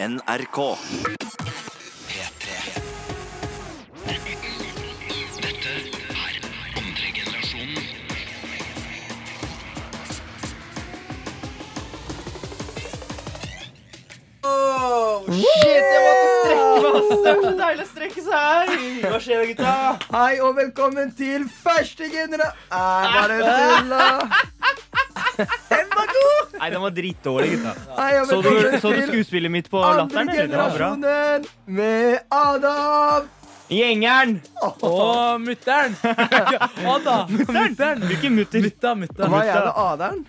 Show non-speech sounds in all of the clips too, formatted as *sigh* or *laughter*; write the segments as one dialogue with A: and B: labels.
A: NRK.
B: Shit, jeg måtte strekke meg. ass. Det er så deilig å strekke seg. Hva skjer da, gutta?
C: Hei og velkommen til første generasjon Er bare tulla! Den var god!
D: Nei, den var dritdårlig, gutta.
C: Hei og
D: Så du,
C: velkommen
D: så du
C: til
D: skuespillet mitt på
C: andre
D: latteren? Eller? Det var bra.
C: generasjonen med Adam!
D: Gjengeren!
B: Og *laughs* mutter'n. Adda.
D: Mutter'n! Hvilken mutter?
B: Mutta, mutta.
C: Hva er det, Aderen?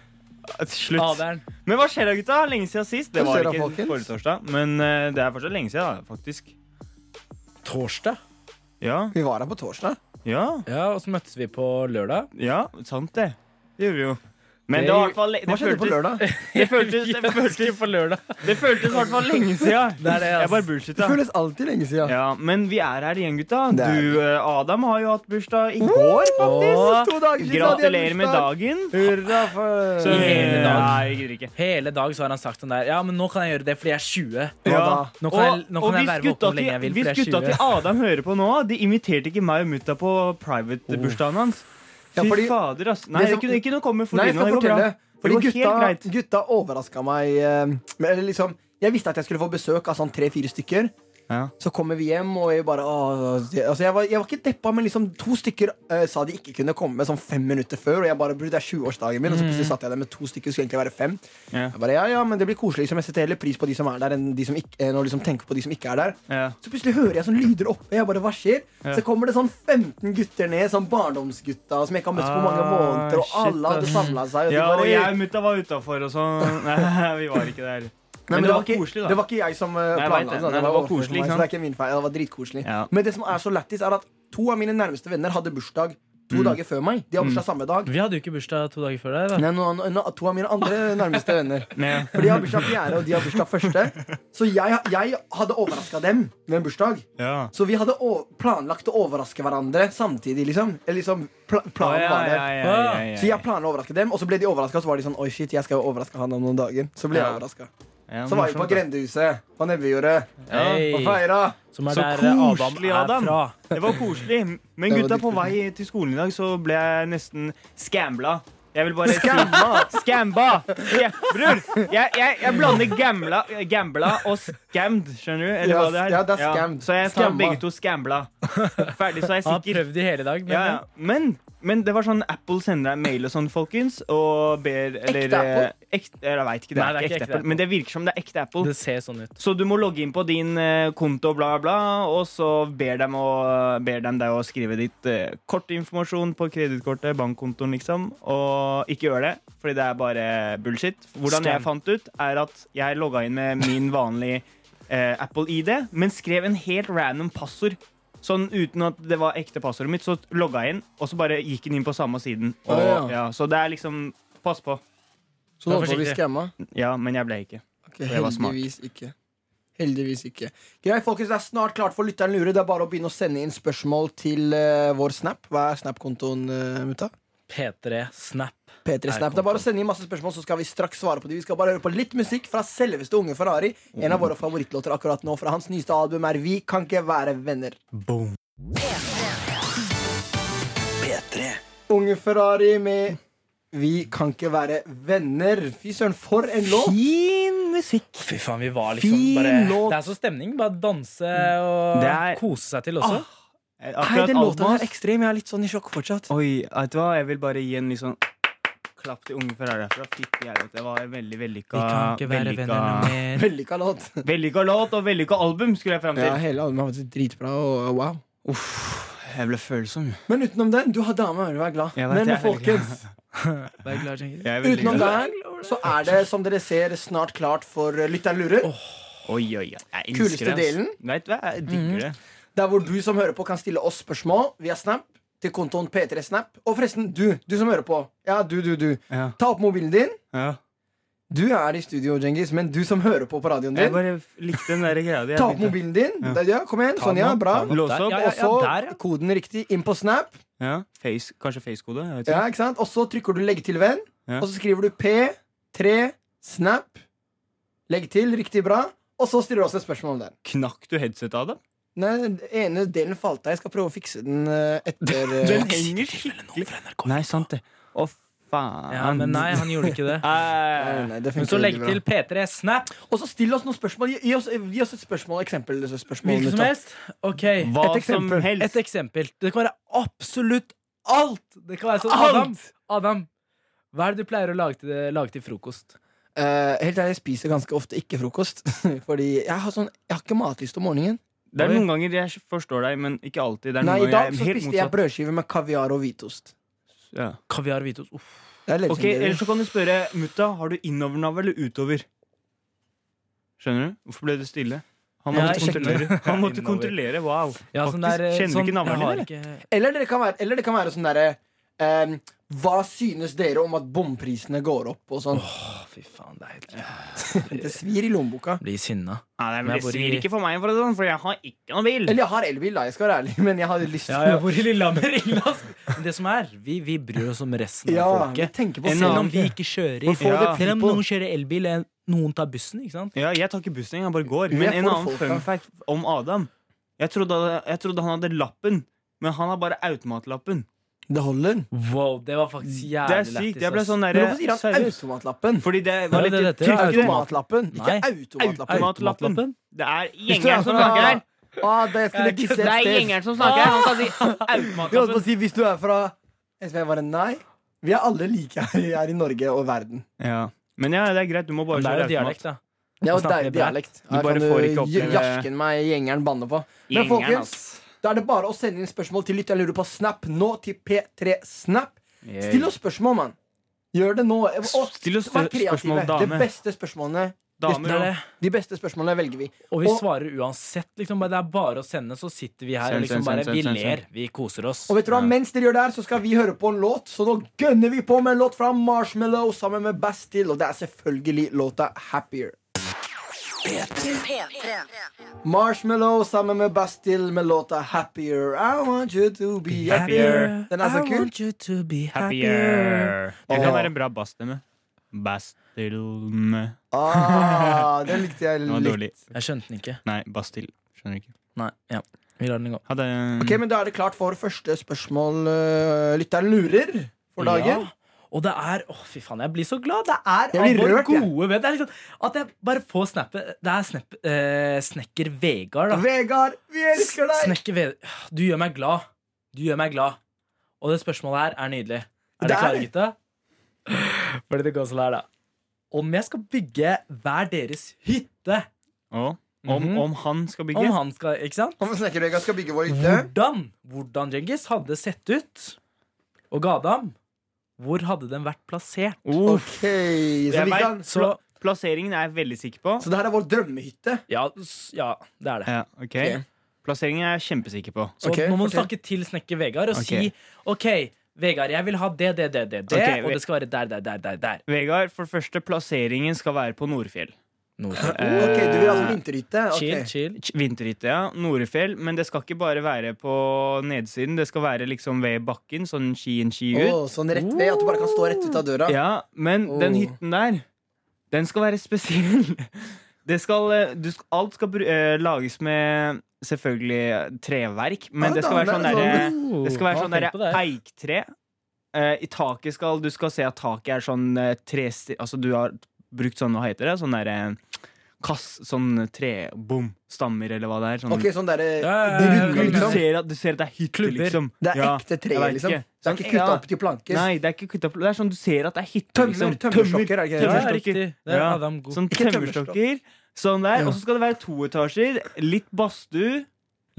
D: Slutt.
B: Aderen.
D: Men hva skjer da, gutta? Lenge siden sist. Det
C: Hva
D: var
C: skjer da,
D: ikke
C: folkens?
D: forrige torsdag, men eh, det er fortsatt lenge siden, da, faktisk.
B: Torsdag.
D: Ja,
C: Vi var her på torsdag.
D: ja,
B: Ja, og så møttes vi på lørdag.
D: ja. Sant, det. Det gjorde vi jo. Men det
B: Det-
D: var i hvert fall le-
C: Hva skjedde på
D: føltes-
C: lørdag?
D: Det føltes, det føltes,
B: Ikke på lørdag.
D: det føltes i hvert fall lenge siden.
B: Det er det, ass.
D: Jeg bare bullshit,
C: *laughs* Det
D: da.
C: føles alltid lenge siden.
D: Ja, men vi er her igjen, gutta.
C: Det er
D: Du, eh, Adam, har jo hatt bursdag i går,
B: Åh,
D: faktisk.
C: To dager siden hadde jeg
D: Gratulerer med
C: bursdag.
D: dagen.
C: Hurra for
D: Så,
B: Hele dagen.
D: Nei, jeg gidder ikke.
B: *laughs* Hele dag så har han sagt sånn der Ja, men nå kan jeg gjøre det fordi jeg er 20.
C: Ja.
D: Ja.
B: Nå kan jeg- nå kan jeg
D: hvis
B: være våken
D: gutta
B: hvor lenge jeg vil, for
D: Hvis
B: jeg er
D: gutta
B: 20.
D: til Adam hører på nå, de inviterte ikke meg og mutta på private-bursdagen hans. Fy
C: Ja, fordi-
D: fader, ass. Nei,
C: Det
D: det
C: som-
D: kunne ikke noe komme for
C: Nei, jeg
D: Lino, det
C: skal
D: går
C: fortelle.
D: bra.
C: Fordi
D: Det går
C: gutta,
D: helt greit.
C: gutta overraska meg. eh, men- Eller liksom, jeg visste at jeg skulle få besøk av sånn tre-fire stykker.
D: Ja.
C: Så kommer vi hjem, og jeg bare åh, jeg- altså jeg, var, jeg var ikke deppa, men liksom to stykker eh, sa de ikke kunne komme sånn fem minutter før. Og jeg bare brukte 20-årsdagen min, og så
D: Mm.
C: plutselig satt jeg der med to stykker. Skulle egentlig være fem.
D: Ja.
C: Jeg bare, ja, ja, men det blir koselig liksom. Jeg setter heller pris på de som er der, enn de som ikke, enn å liksom tenke på de som ikke er der.
D: Ja.
C: Så plutselig hører jeg sånn lyder oppe. Jeg bare, hva skjer?
D: Ja.
C: Så kommer det sånn 15 gutter ned, sånn barndomsgutta som jeg ikke har møtt på mange
D: Ah,
C: måneder, og alle
D: shit,
C: hadde
D: ass.
C: samla seg. Og de
D: ja,
C: bare,
D: og jeg og mutta var utafor og sånn. *laughs* Nei, vi var ikke der.
C: Nei, men det, var ikke,
D: koselig, da.
C: det var ikke jeg som eh,
D: jeg vet
C: planla
D: det. Nei,
C: det.
D: det var
C: overfor
D: koselig,
C: meg,
D: ikke
C: så
D: sant?
C: det er ikke min feil. Det var dritkoselig.
D: Ja.
C: Men det som er så lættis, er at to av mine nærmeste venner hadde bursdag
D: Mm.
C: to dager før meg. De har bursdag samme dag.
B: Vi hadde jo ikke bursdag to dager før deg. da
C: Nei, no, no, no, to av mine andre nærmeste venner.
D: Men-
C: For de har bursdag fjerde, og de har bursdag første. Så jeg, jeg hadde overraska dem med en bursdag.
D: ja.
C: Så vi hadde o planlagt å overraske hverandre samtidig, liksom. Eller liksom, pla
D: Å,
C: planen
D: ja,
C: var
D: ja,
C: der.
D: ja, ja, ja.
C: Så jeg planla å overraske dem, og så ble de overraska. Og så var de sånn Oi, shit, jeg skal jo overraske han om noen dager. Så ble jeg
D: Ja.
C: overraska.
D: Ja,
C: Så var vi på
D: morsomt, da.
C: grendehuset på Nebbejordet
B: Hey.
C: og feira.
B: Som er
D: Så
B: der eh,
D: koselig, Adam.
B: Adam er fra.
D: Det var koselig. Men
C: Det var
D: gutta, på
C: dritkoselig.
D: vei til skolen i dag så ble jeg nesten skambla. Jeg vil bare si
C: Gamla!
D: Skamba! Jeg, bror, jeg, jeg, jeg blander gamla, gambla og scammed, skjønner du? Eller
C: Ja,
D: hva det er?
C: ja, det er scammed.
D: Så jeg tar
C: Skamma.
D: begge to skambla. Ferdig, så er jeg
B: Han har
D: sikker.
B: prøvd i hele dag. Men
D: Ja, ja. Men, men det var sånn Apple sender deg mail og sånn, folkens, og ber eller,
C: Ekte Apple?
D: eh, Ekte, jeg veit ikke, det
B: Nei,
D: er ikke ekte Apple,
B: Apple.
D: men det virker som det er ekte Apple.
B: det ser sånn ut.
D: Så du må logge inn på din eh, konto, bla, bla, bla, og så ber dem, å- ber dem deg å skrive ditt eh, kortinformasjon på kredittkortet, bankkontoen, liksom. Og ikke gjør det, fordi det er bare bullshit. Hvordan
B: Scam.
D: jeg fant ut, er at jeg logga inn med min vanlige eh, Apple-ID, men skrev en helt random passord. Sånn Uten at det var ekte passordet mitt, så logga jeg inn, og så bare gikk den inn på samme siden. Og,
C: Å, ja.
D: ja. så det er liksom Pass på.
C: Så nå
B: Vær
C: får vi
B: forsiktig.
C: skamma?
D: Ja, men jeg ble ikke.
C: Ok,
D: Det var smart.
C: heldigvis ikke. Heldigvis ikke. Greit, folkens, Det er snart klart for lytteren lurer. Det er bare å begynne å sende inn spørsmål til eh, vår Snap. Hva er Snap-kontoen, eh, mutta?
B: P3 Snap.
C: P3 Snap. Det er bare å sende inn masse spørsmål, så skal vi straks svare på de. Vi skal bare høre på litt musikk fra selveste Unge Ferrari. En av våre favorittlåter akkurat nå fra hans nyeste album er Vi kan ikke være venner.
B: Boom.
C: Unge Ferrari med Vi kan ikke være venner. Fy søren, for en låt!
D: Fin musikk.
B: Fy faen, vi var liksom
C: Fin
B: bare
C: låt.
B: Det er så stemning. Bare danse og
D: Det er-
B: kose seg til også.
C: Nei,
D: Akkurat
C: den låta
D: albumet
C: er ekstrem. Jeg er litt sånn i sjokk fortsatt.
D: Oi, vet du hva? Jeg vil bare gi en litt sånn klapp til unge Ferrari herfra. Fytti helvete, det var en veldig vellykka
B: vi kan ikke være venner noe
D: vellykka,
B: mer.
C: Vellykka låt.
D: vellykka låt og vellykka album, skulle jeg fram til.
C: Ja, hele albumet er faktisk dritbra. Og uh, wow
D: Jeg ble følsom.
C: Men utenom den, du har dame, du er glad.
D: Jeg vet,
C: Men
D: jeg er veldig
C: folkens,
B: Vær glad, Cengiz.
D: Jeg er veldig
C: utenom
D: glad.
C: den, så er det som dere ser snart klart for eh, Lytteren lurer.
D: Oi, oi, oi. Jeg elsker
C: Kuleste
D: det, ass.
C: delen.
D: Vet du hva, jeg
B: Mhm.
D: digger det.
C: Der hvor du som hører på, kan stille oss spørsmål via Snap. Til kontoen P3snap. Og forresten, du du som hører på. Ja, du, du, du.
D: Ja.
C: Ta opp mobilen din.
D: Ja.
C: Du er i studio, Djengis, men du som hører på på radioen
D: Jeg
C: din,
D: bare likte den der greia di.
C: ta opp mobilen din.
D: Ja.
C: Der, Ja, kom igjen. Sånn, ja.
B: den,
C: Bra.
B: ta den.
D: Lås
B: Der,
D: opp.
B: ja,
C: Og så
B: der, ja.
C: koden riktig inn på Snap.
D: Ja. Face, kanskje face-kode? Jeg vet ikke.
C: Ja, ikke sant? Og så trykker du 'legg til venn',
D: Ja.
C: og så skriver du P3 Snap. Legg til, riktig bra. Og så stiller du også et spørsmål om det.
A: Knakk du headsetet av dem?
C: Nei, den ene delen falt av. Jeg skal prøve å fikse den eh, etter eh,
A: Den henger skikkelig
D: Nei, sant det. Å, faen.
B: Ja, men nei, *laughs* han gjorde ikke det.
C: Nei, nei, det
B: Men
C: funker
B: så legg
C: veldig bra.
B: til P3 Snap.
C: Og så still oss noen spørsmål. Gi, gi, oss, gi oss et spørsmål. Eksempel, spørsmål
B: Hvilket som
C: Nutta.
B: helst. Ok,
D: Hva
C: Et
D: som
C: eksempel.
D: helst.
B: Et eksempel. Det kan være absolutt alt! Det kan være sånn Adam, Adam hva er det du pleier å lage til, lage til frokost?
C: Eh, helt ærlig, jeg spiser ganske ofte ikke frokost. *laughs* Fordi jeg har, sånn, jeg har ikke matlyst om morgenen.
D: Det er noen ganger jeg forstår deg, men ikke alltid. Det er noen
C: Nei, I
D: ganger
C: dag
D: jeg
C: så
D: er helt
C: spiste jeg
D: motsatt.
C: brødskive med kaviar og hvitost.
D: Ja.
B: Kaviar og hvitost. Uff.
C: Det er
D: Ok,
C: legendary.
D: Eller så kan du spørre mutta har du innovernav eller utover. Skjønner du? Hvorfor ble du stille? Han
B: Ja,
D: måtte,
B: jeg sjekker det.
D: kontrollere. Han måtte
B: Innover.
D: kontrollere. Wow.
B: Ja, sånn der,
D: Faktisk, kjenner
B: eh,
D: du
B: sånn-
D: ikke navnet
B: jeg har
D: din,
B: ikke-
C: Eller det kan være, eller det kan være sånn derre ehm, Hva synes dere om at bomprisene går opp og sånn?
B: Å, fy faen, det er helt *laughs*
C: Det svir i lommeboka.
B: Blir sinna.
D: Nei, det
B: Men jeg bor
D: blir- svir
B: i-
D: ikke for meg, for, det, sånn, for jeg har ikke noen bil.
C: Eller jeg har elbil, da. Jeg skal være ærlig, *laughs* men jeg hadde lyst
B: Ja, *laughs* jeg bor i Lillehammer. Illas. Men det som er, vi, vi bryr oss om resten av
C: Ja, vi
B: folket.
C: tenker på
D: En
B: Selv
C: selv
B: om vi ikke kjører.
C: For få
D: det
B: Selv om
C: people.
B: noen kjører elbil, eh, noen tar bussen. ikke sant?
D: Ja, jeg tar ikke bussen, jeg bare går.
C: Vi
D: Men
C: er
D: en
C: for
D: annen
C: folka.
D: fun fact om Adam. Jeg trodde, jeg trodde han hadde lappen, men han har bare automatlappen.
C: Det holder.
B: Wow, det var faktisk jævlig
D: Det er sykt.
B: lættis,
D: Jeg ble
B: ass.
D: sånn
C: Men
D: derre
C: hvorfor sier han
D: seriøst.
C: automatlappen?
D: Fordi det var
B: Ja,
D: litt
B: det er dette, ja.
D: tydelig.
C: Automatlappen,
B: Nei.
C: ikke automatlappen.
D: Automatlappen.
B: Automatlappen.
D: Det er
C: Hvis du er sånn,
D: gjengeren som
C: fra-
D: snakker der.
C: Ah, da jeg skulle
B: Jeg
C: disse
B: kødder.
C: et
D: Det er
C: sted.
D: gjengeren som snakker her. Han kan si
C: Vi holdt på
D: automatlappen.
C: å si hvis du er fra SV, bare nei. Vi er alle like her, her i Norge og verden.
D: Ja. Men ja, det er greit. Du må bare
B: Men Det er
D: kjøre
B: jo
D: automat.
B: dialekt, da.
C: Det er jo
B: Snakker
C: deilig
B: bra.
C: dialekt. Her
D: bare
C: kan
D: får ikke
C: j-
D: oppleve-
C: Jasken meg gjengeren banne på. Men
D: Gjengeren, altså.
C: folkens,
D: ass.
C: da er det bare å sende inn spørsmål til lytt. Jeg lurer på Snap nå til P3 Snap. Still oss spørsmål, mann. Gjør det nå. Og
D: Still oss spørsmål,
C: vær kreative. De
D: dame.
C: beste spørsmålene,
D: Damer
B: Det er
D: og
B: det.
C: de beste spørsmålene velger vi.
B: Og vi
C: Og-
B: svarer uansett. Liksom, bare, det er bare å sende, så sitter vi her
D: Send,
B: og liksom
D: send,
B: bare
D: send,
B: Vi
D: send, send.
B: ler. Vi koser oss.
C: Og vet du hva,
D: Ja.
C: mens dere gjør det her, så skal vi høre på en låt. Så nå gønner vi på med en låt fra Marshmallow sammen med Bastille, og det er selvfølgelig låta Happier. Marshmallow sammen med Bastille med låta Happier. I want you to be happier. Den er så
B: I
C: kul.
B: want you to be happier.
D: happier. Jeg kan være en bra bassstemme. Bastilme.
C: Ah, den likte jeg
D: Det var
C: litt.
D: dårlig.
B: Jeg skjønte den ikke.
D: Nei, bastil. Skjønner ikke.
B: Nei, ja. Vi lar den gå.
D: Ha det.
C: Ok, men Da er det klart for første spørsmål. øh, Lytteren lurer for dagen.
B: Ja. Og det er Å, fy faen, jeg blir så glad! Det er
C: Jeg
B: av
C: blir
B: vår
C: rørt, jeg.
B: gode venn. Det er liksom, at jeg bare får snappet Det er snapp, eh, snekker Vegard, da.
C: Vegard, vi elsker deg!
B: Snekker Ve du gjør meg glad. Du gjør meg glad. Og det spørsmålet her er nydelig. Er
C: Det
B: dere
C: er
B: klare,
C: det.
B: gutta? Fordi det går sånn her, da. Om jeg skal bygge hver deres hytte
D: Og om,
B: Mhm.
D: om han skal bygge?
B: Om han skal, ikke sant?
C: Om Snekker-Vegard skal bygge vår hytte.
B: Hvordan, hvordan Djengis hadde sett ut Og Gadam Hvor hadde den vært plassert
D: Uff.
C: Ok, så,
D: Jeg
C: vi
D: vet.
C: kan,
B: Så
D: Plasseringen er jeg veldig sikker på.
C: så det her er vår drømmehytte.
B: ja, s- ja det er det
D: Ja, ok
C: Ok.
D: Plasseringen er jeg kjempesikker på.
C: Eh,
B: Så
C: Ok,
B: nå må du
C: fortell.
B: snakke til snekker Vegard Og
D: Ok.
B: si, ok Vegard, jeg vil ha det, det, det, det, det
D: Ok,
B: Og
D: Ve-
B: det skal være der, der, der, der, der
D: Vegard, for det første, plasseringen skal være på Nordfjell.
B: Nordfjell.
C: Ok, Du vil altså vinterhytte? Ok.
B: Eh, Chill, chill
D: Ch- Vinterhytte, ja. Nordfjell. Men det skal ikke bare være på nedsiden. Det skal være liksom ved bakken, sånn skien-ski ut.
C: Åh, sånn rett ved, at du bare kan stå rett ut av døra?
D: Ja, men den
C: Oh.
D: hytten der, den skal være *laughs* spesiell. Det skal, eh, du, sk- alt skal bru- eh, lages med selvfølgelig eh, treverk, men
C: Ja,
D: det skal
C: da,
D: være sånn
C: det er
D: derre
B: Oh,
D: Det skal være sånn
B: ja, tenk på
D: derre
B: det her.
D: eiktre. Eh, I taket skal Du skal se at taket er sånn uh, tre... Altså, du har brukt sånn, hva heter det? Sånn derre Kass, sånn tre... Bom! Stammer, eller hva det er. Sånn.
C: Ok, sånn derre
B: Ja, ja,
C: de
B: ja,
C: ruller
D: Du,
B: ja,
C: liksom.
D: ser at, du ser at det er hytte,
B: Klubber.
D: liksom.
C: Det er
D: Ja,
C: ekte tre,
D: jeg vet
C: liksom.
D: ikke.
C: Det er
B: Sånn,
C: ikke
D: Ja.
C: kutta opp til planker.
D: Nei, det er ikke kutta opp. Det er sånn du ser at det er hytte,
C: Tømmer,
D: liksom.
C: tømmerstokker, er det
B: Ja,
C: ikke
D: Tømmer.
C: det?
B: riktig Det er
D: Ja.
B: Adam god
D: Sånn
C: Ikke
D: tømmerstokker. Sånn der.
C: Ja.
D: Og så skal det være to etasjer. Litt badstue.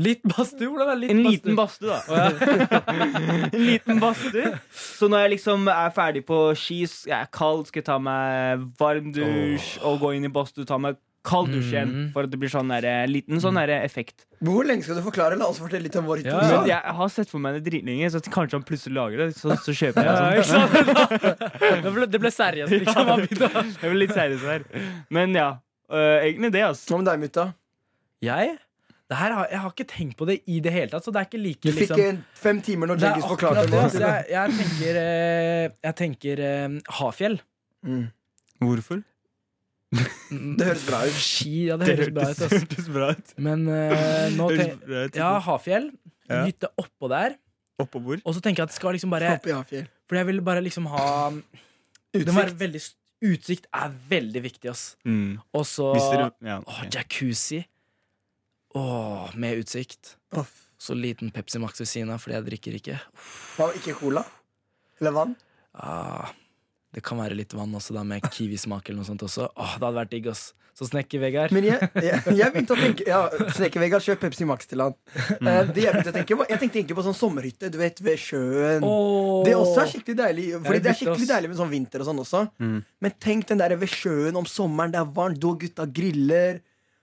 B: Litt bastu, hvordan er litt
D: En
B: bastu?
D: liten badstue, da.
B: Å, ja.
D: En liten badstue. Så når jeg liksom er ferdig på ski, s- jeg er kald, skal jeg ta meg varm dusj og gå inn i badstue, ta meg kald dusj igjen.
B: Mm.
D: For at det blir sånn der, eh, liten sånn der, eh, effekt.
C: Men Hvor lenge skal du forklare? La oss fortelle litt om vår hytte.
B: Ja,
D: Men
C: også.
D: jeg har sett for meg det dritlenge, så kanskje han plutselig lager det. Så, så kjøper jeg
B: Ja,
D: sånn.
B: ikke sant? Det ble, det
D: *laughs*
B: ble seriøst, liksom. Man begynte å-
D: Jeg blir litt seriøs her. Men ja. øh, egentlig det, altså.
C: Hva med deg, mutta?
B: Jeg? Det her har, jeg har ikke tenkt på det i det hele tatt, så det er ikke like
C: Du fikk
B: liksom,
C: eh, fem timer når
B: Det er
C: Jeggis forklarte
B: akkurat det. Altså,
C: det.
B: jeg, jeg tenker, eh, jeg tenker eh, Hafjell.
C: Mm.
D: Hvorfor?
C: Det høres bra ut.
B: Mm, Ski, ja, det høres bra ut. ass.
A: hørtes bra ut.
B: Men eh, nå
A: Høres
B: te
A: bra ut.
B: Ja, Hafjell.
A: Ja.
B: En hytte oppå der.
A: Oppå bord.
B: Og så tenker jeg at det skal liksom bare
C: Opp i Hafjell.
B: For jeg vil bare liksom ha Den var
C: Utsikt.
B: veldig s- Utsikt er veldig viktig, ass.
A: Mm.
B: Og så
A: Hvis dere ja,
B: Åh,
A: ok.
B: jacuzzi. Åh, med utsikt.
C: Uff.
B: Så liten Pepsi Max ved siden av, fordi jeg drikker ikke.
C: Hva, Ikke cola? Eller vann?
B: Ah, det kan være litt vann også, da, med kiwismak eller noe sånt også. Åh, det hadde vært digg, ass. Så snekker Vegard.
C: Men jeg, jeg, jeg begynte å tenke ja, Sneke-Vegard, kjøp Pepsi Max til han. Eh, det jeg begynte å tenke på Jeg tenkte egentlig på sånn sommerhytte du vet, ved sjøen.
B: Åh.
C: Det også er skikkelig deilig Fordi det
B: det
C: er
B: brukte
C: skikkelig
B: oss.
C: deilig med sånn vinter og sånn også.
A: Mm.
C: Men tenk den der ved sjøen om sommeren, det er varmt, du og gutta griller.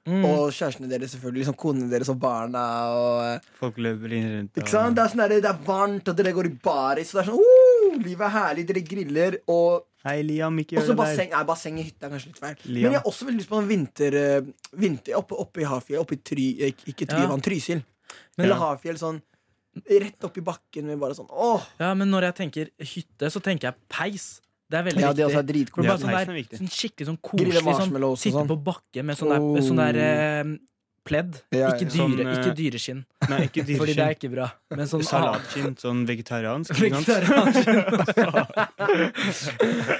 B: Mm.
C: Og kjærestene deres, selvfølgelig. Liksom konene deres og barna. Og, eh,
A: Folk løper inn rundt.
C: ikke sant? Det, er sånn der, det er varmt, og dere går i baris. Og det er sånn, oh, livet er herlig, dere griller. Og
A: Hei, Liam, ikke
C: også basseng, nei, basseng i hytta er kanskje litt feil.
A: Liam.
C: Men jeg har også veldig lyst på en vinter, eh, vinter oppe, oppe i Hafjell. Oppe i Try, eh, ikke Tryvann, Trysil.
B: Men-
C: Eller Hafjell sånn rett opp i bakken med bare sånn åh!
B: Ja, men når jeg tenker hytte, så tenker jeg peis. Det er veldig
C: Ja, det
B: viktig.
C: også altså. er
B: For
C: dritkult.
B: det
A: Ja,
B: er bare
A: peisen
B: sånn,
A: er
B: der,
A: viktig.
B: sånn skikkelig sånn
C: Grille
B: koselig sånn,
C: marshmallows og
B: Sitte
C: sånn.
B: på bakke med sånn der, sånn der eh, pledd.
C: Ja, ja.
B: Ikke, dyre,
A: Sånn, eh,
B: ikke dyreskinn,
A: Nei, ikke
B: fordi det er
A: dyreskinn.
B: ikke bra. Men
C: *laughs*
B: sånn ah,
A: Salatskinn. Sånn vegetariansk. ikke sant?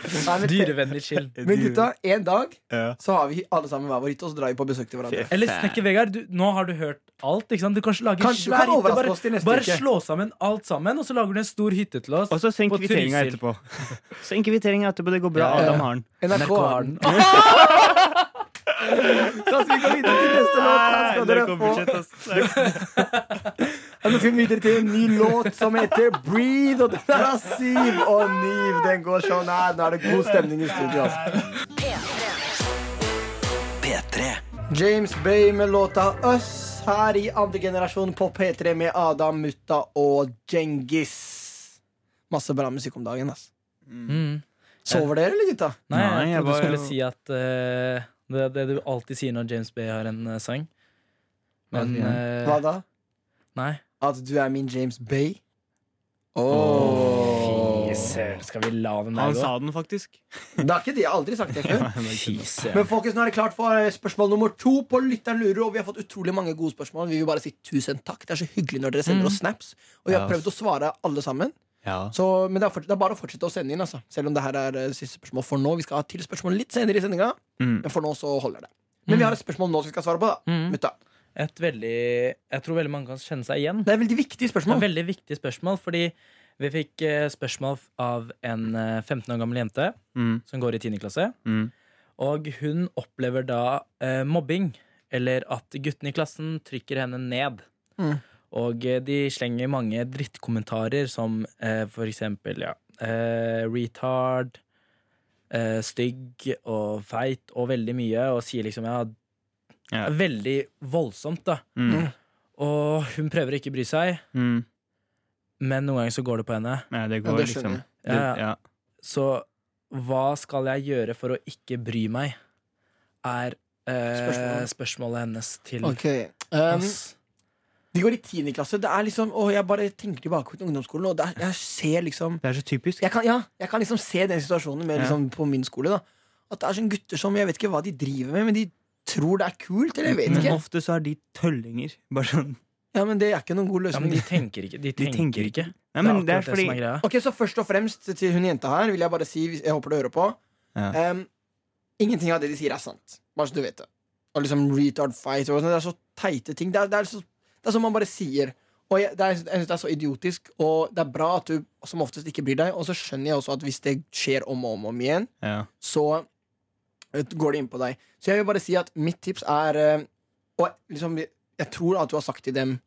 C: Nei, men, te-
B: dyrevennlig skinn.
C: men gutta, en dag
A: Ja.
C: så har vi alle sammen hver vår hytte, og så drar vi på besøk til hverandre.
B: Eller Snekker Vegard, du, nå har du hørt alt. ikke sant? Du kanskje lager
C: Kanskje du kan overraske oss til neste
B: Bare
C: uke.
B: slå sammen alt sammen, og så lager du en stor hytte til oss.
D: Og så send
B: På
D: kvitteringa
B: Trysil.
D: etterpå.
A: *laughs*
D: Send kvitteringa etterpå. Det går bra.
B: Ja, ja, ja.
D: Adam har den.
C: NRK har den.
B: Narkoden.
C: Da skal vi gå videre til neste låt. Her skal dere få Ja, Nå skal vi videre til en ny låt som heter Breathe. Og den er av Siv og Niv. Den går sånn her. Nå er det god stemning i studio. Altså. James Bay med låta Us her i andre generasjon på P3 med Adam, Mutta og Djengis. Masse bra musikk om dagen. ass
B: Mm.
C: Sover dere, eller gutta?
B: Nei, jeg,
A: Nei, jeg
B: trodde
A: var-
B: du skulle si at eh, det, det du alltid sier når James Bay har en eh, sang. Men
A: Hva sier
B: eh,
C: Hva da?
B: Nei.
C: At du er min James Bay? Åh
B: Fy søren, skal vi la den
A: Han
B: der gå?
A: sa den faktisk.
C: Det er ikke det. Jeg har aldri sagt det før.
B: Fy søren.
C: Men folkens, nå er det klart for eh, spørsmål nummer to på Lytteren lurer. Og vi har fått utrolig mange gode spørsmål. Vi vil bare si tusen takk. Det er så hyggelig når dere sender
B: Mm.
C: oss snaps. Og vi
A: Ja.
C: har prøvd å svare alle sammen.
A: Ja.
C: Så, men det er, forts- det er bare å fortsette å sende inn, altså. Selv om det her er eh, siste spørsmål for nå. Vi skal ha til spørsmål litt senere i sendinga,
A: Mm.
C: men for nå så holder det. Men vi har et spørsmål nå som vi skal svare på, da.
B: Mm.
C: Mutta.
B: Et veldig Jeg tror veldig mange kan kjenne seg igjen.
C: Det er veldig viktige
B: Det er
C: spørsmål.
B: veldig viktige spørsmål, fordi vi fikk eh, spørsmål av en eh, 15 år gammel jente
A: Mm.
B: som går i 10. klasse.
A: Mm.
B: Og hun opplever da eh, mobbing, eller at guttene i klassen trykker henne ned.
C: Mm.
B: Og eh, de slenger mange drittkommentarer som eh, for eksempel ja, eh, retard, eh, stygg og feit og veldig mye, og sier liksom ja,
A: Ja.
B: Veldig voldsomt, da.
A: Mm.
B: Og hun prøver å ikke bry seg,
A: Mm.
B: men noen ganger så går det på henne.
A: Ja, det
C: Ja,
A: går,
C: det
A: liksom.
C: skjønner jeg.
A: Det,
B: Ja, ja.
A: ja.
B: Så hva skal jeg gjøre for å ikke bry meg? Er eh,
C: Spørsmålet.
B: spørsmålet hennes til
C: Ok. Um,
B: oss.
C: de går i 10. klasse. Det er liksom, å, jeg bare tenker tilbake på ungdomsskolen, og det er, jeg ser liksom
A: det er så typisk.
C: jeg kan, ja, jeg kan liksom se den situasjonen med,
A: Ja.
C: liksom, på min skole. da At det er sånne gutter som jeg vet ikke hva de driver med, men de tror det er kult. Eller jeg
D: Mm.
C: vet
A: Men
C: ikke
A: ofte så er de tøllinger. Bare sånn.
C: Ja, men Det er ikke noen god
B: Ja, men
C: løsning.
B: de tenker ikke. De tenker,
A: tenker
B: ikke.
A: Nei, men det
B: det
A: er
B: akkurat det
A: fordi
B: som er greia.
C: Ok, Så først og fremst til hun jenta her vil jeg bare si hvis- Jeg håper du hører på.
A: Ja.
C: em, ingenting av det de sier, er sant. Bare så du vet det. Og liksom retard fight og sånn, Det er så teite ting. Det er, det er, så, det er som man bare sier. Og jeg, det er, jeg synes det er så idiotisk, og det er bra at du som oftest ikke bryr deg. Og så skjønner jeg også at hvis det skjer om og om og om igjen,
A: ja.
C: så eh, går det inn på deg. Så jeg vil bare si at mitt tips er eh, Og liksom, jeg tror at du har sagt til dem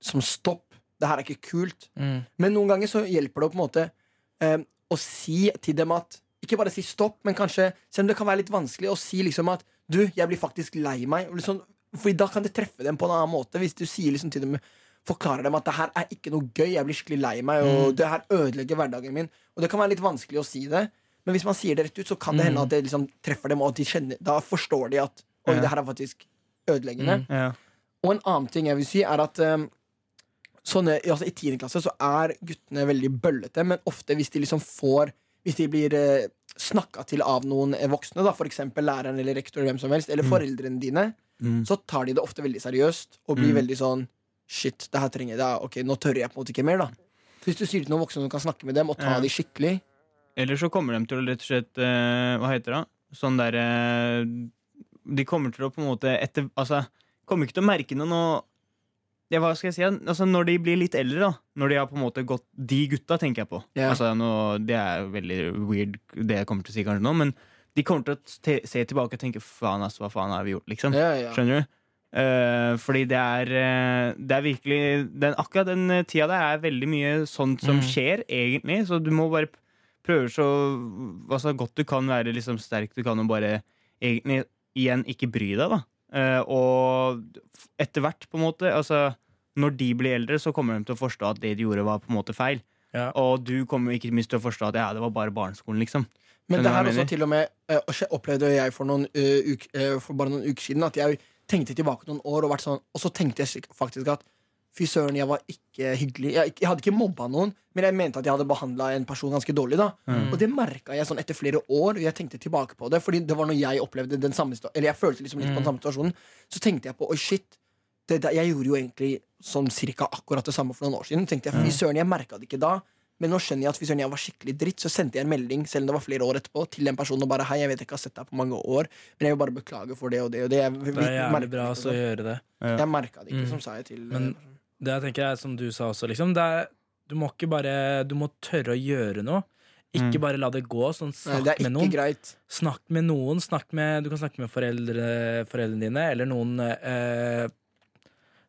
C: som stopp, det her er ikke kult.
B: Mm.
C: Men noen ganger så hjelper det å på en måte eh, å si til dem at Ikke bare si stopp, men kanskje, selv om det kan være litt vanskelig, å si liksom at du, jeg blir faktisk lei meg. Og Liksom, for da kan det treffe dem på en annen måte. Hvis du sier liksom til dem Forklarer dem at det her er ikke noe gøy, jeg blir skikkelig lei meg, og det her ødelegger hverdagen min. Og det kan være litt vanskelig å si det, men hvis man sier det rett ut, så kan det hende at det liksom treffer dem, og at de kjenner, da forstår de at Oi,
A: Ja.
C: det her er faktisk ødeleggende.
B: Mm.
A: Ja.
C: Og en annen ting jeg vil si er at um, sånne, altså I 10. klasse så er guttene veldig bøllete, men ofte hvis de liksom får Hvis de blir eh, snakka til av noen eh, voksne, da, f.eks. læreren eller rektor, eller hvem som helst, eller
A: Mm.
C: foreldrene dine,
A: Mm.
C: så tar de det ofte veldig seriøst og blir
A: Mm.
C: veldig sånn Shit, det her trenger jeg. Det er, ok, nå tør jeg på en måte ikke mer, da. Så Hvis du sier det til noen voksne som kan snakke med dem, og ta
A: Ja.
C: de skikkelig
D: Eller så kommer de til å rett og slett eh, Hva heter det? Sånn der eh, De kommer til å på en måte etter, Altså, kommer ikke til å merke noe nå ja, hva skal jeg si? Altså, når de blir litt eldre, da. Når de har på en måte gått De gutta tenker jeg på.
C: Ja.
D: Altså, nå, det er jo veldig weird, det jeg kommer til å si kanskje nå, men de kommer til å te se tilbake og tenke 'faen, ass, hva faen har vi gjort', liksom.
C: ja, ja.
D: Skjønner du? Eh, fordi det er, eh, det er virkelig den, Akkurat den eh, tida der er veldig mye sånt som
B: Mm.
D: skjer, egentlig. Så du må bare p- prøve så altså, godt du kan være liksom, sterk du kan, og bare egentlig igjen ikke bry deg, da. Eh, og f- etter hvert, på en måte altså, Når de blir eldre, så kommer de til å forstå at det de gjorde, var på en måte feil.
B: Ja.
D: Og du kommer ikke minst til å forstå at ja, det var bare barneskolen, liksom. Skjønner
C: Men det
D: du hva jeg
C: her også
D: mener?
C: til og med eh, og skje- opplevde jeg for, noen, eh, uk, eh, for bare noen uker siden at jeg tenkte tilbake noen år og vært sånn, og så tenkte jeg sik- faktisk at fy søren, jeg var ikke hyggelig. Jeg, jeg hadde ikke mobba noen, men jeg mente at jeg hadde behandla en person ganske dårlig. da
D: Mm.
C: Og det merka jeg sånn etter flere år, og jeg tenkte tilbake på det. Fordi det var når jeg opplevde den samme situa- Eller jeg følte liksom litt på den
B: Mm.
C: samme situasjonen. Så tenkte jeg på oi, shit. Det, der- jeg gjorde jo egentlig sånn cirka akkurat det samme for noen år siden. Tenkte jeg, fy
B: Mm.
C: søren, jeg merket det ikke da men nå skjønner jeg at hvis jeg var skikkelig dritt, så sendte jeg en melding selv om det var flere år etterpå til den personen og bare hei, jeg vet jeg ikke har sett deg på mange år, men jeg vil bare beklage for det og det og det. Jeg, vi-
B: Det er jævlig
C: merket
B: bra
C: det
B: også å
C: ikke,
B: gjøre det.
C: sånn. jeg merka det ikke,
B: Mm.
C: som sa jeg til
B: Men-
C: eh,
B: Det jeg tenker er som du sa også, liksom. Det er, du må ikke bare Du må tørre å gjøre noe. Ikke
D: Mm.
B: bare la det gå. Sånn,
C: Nei,
B: snakk
C: det er
B: med
C: ikke
B: noen.
C: greit.
B: Snakk med noen. Snakk med, du kan snakke med foreldre, foreldrene dine eller noen eh,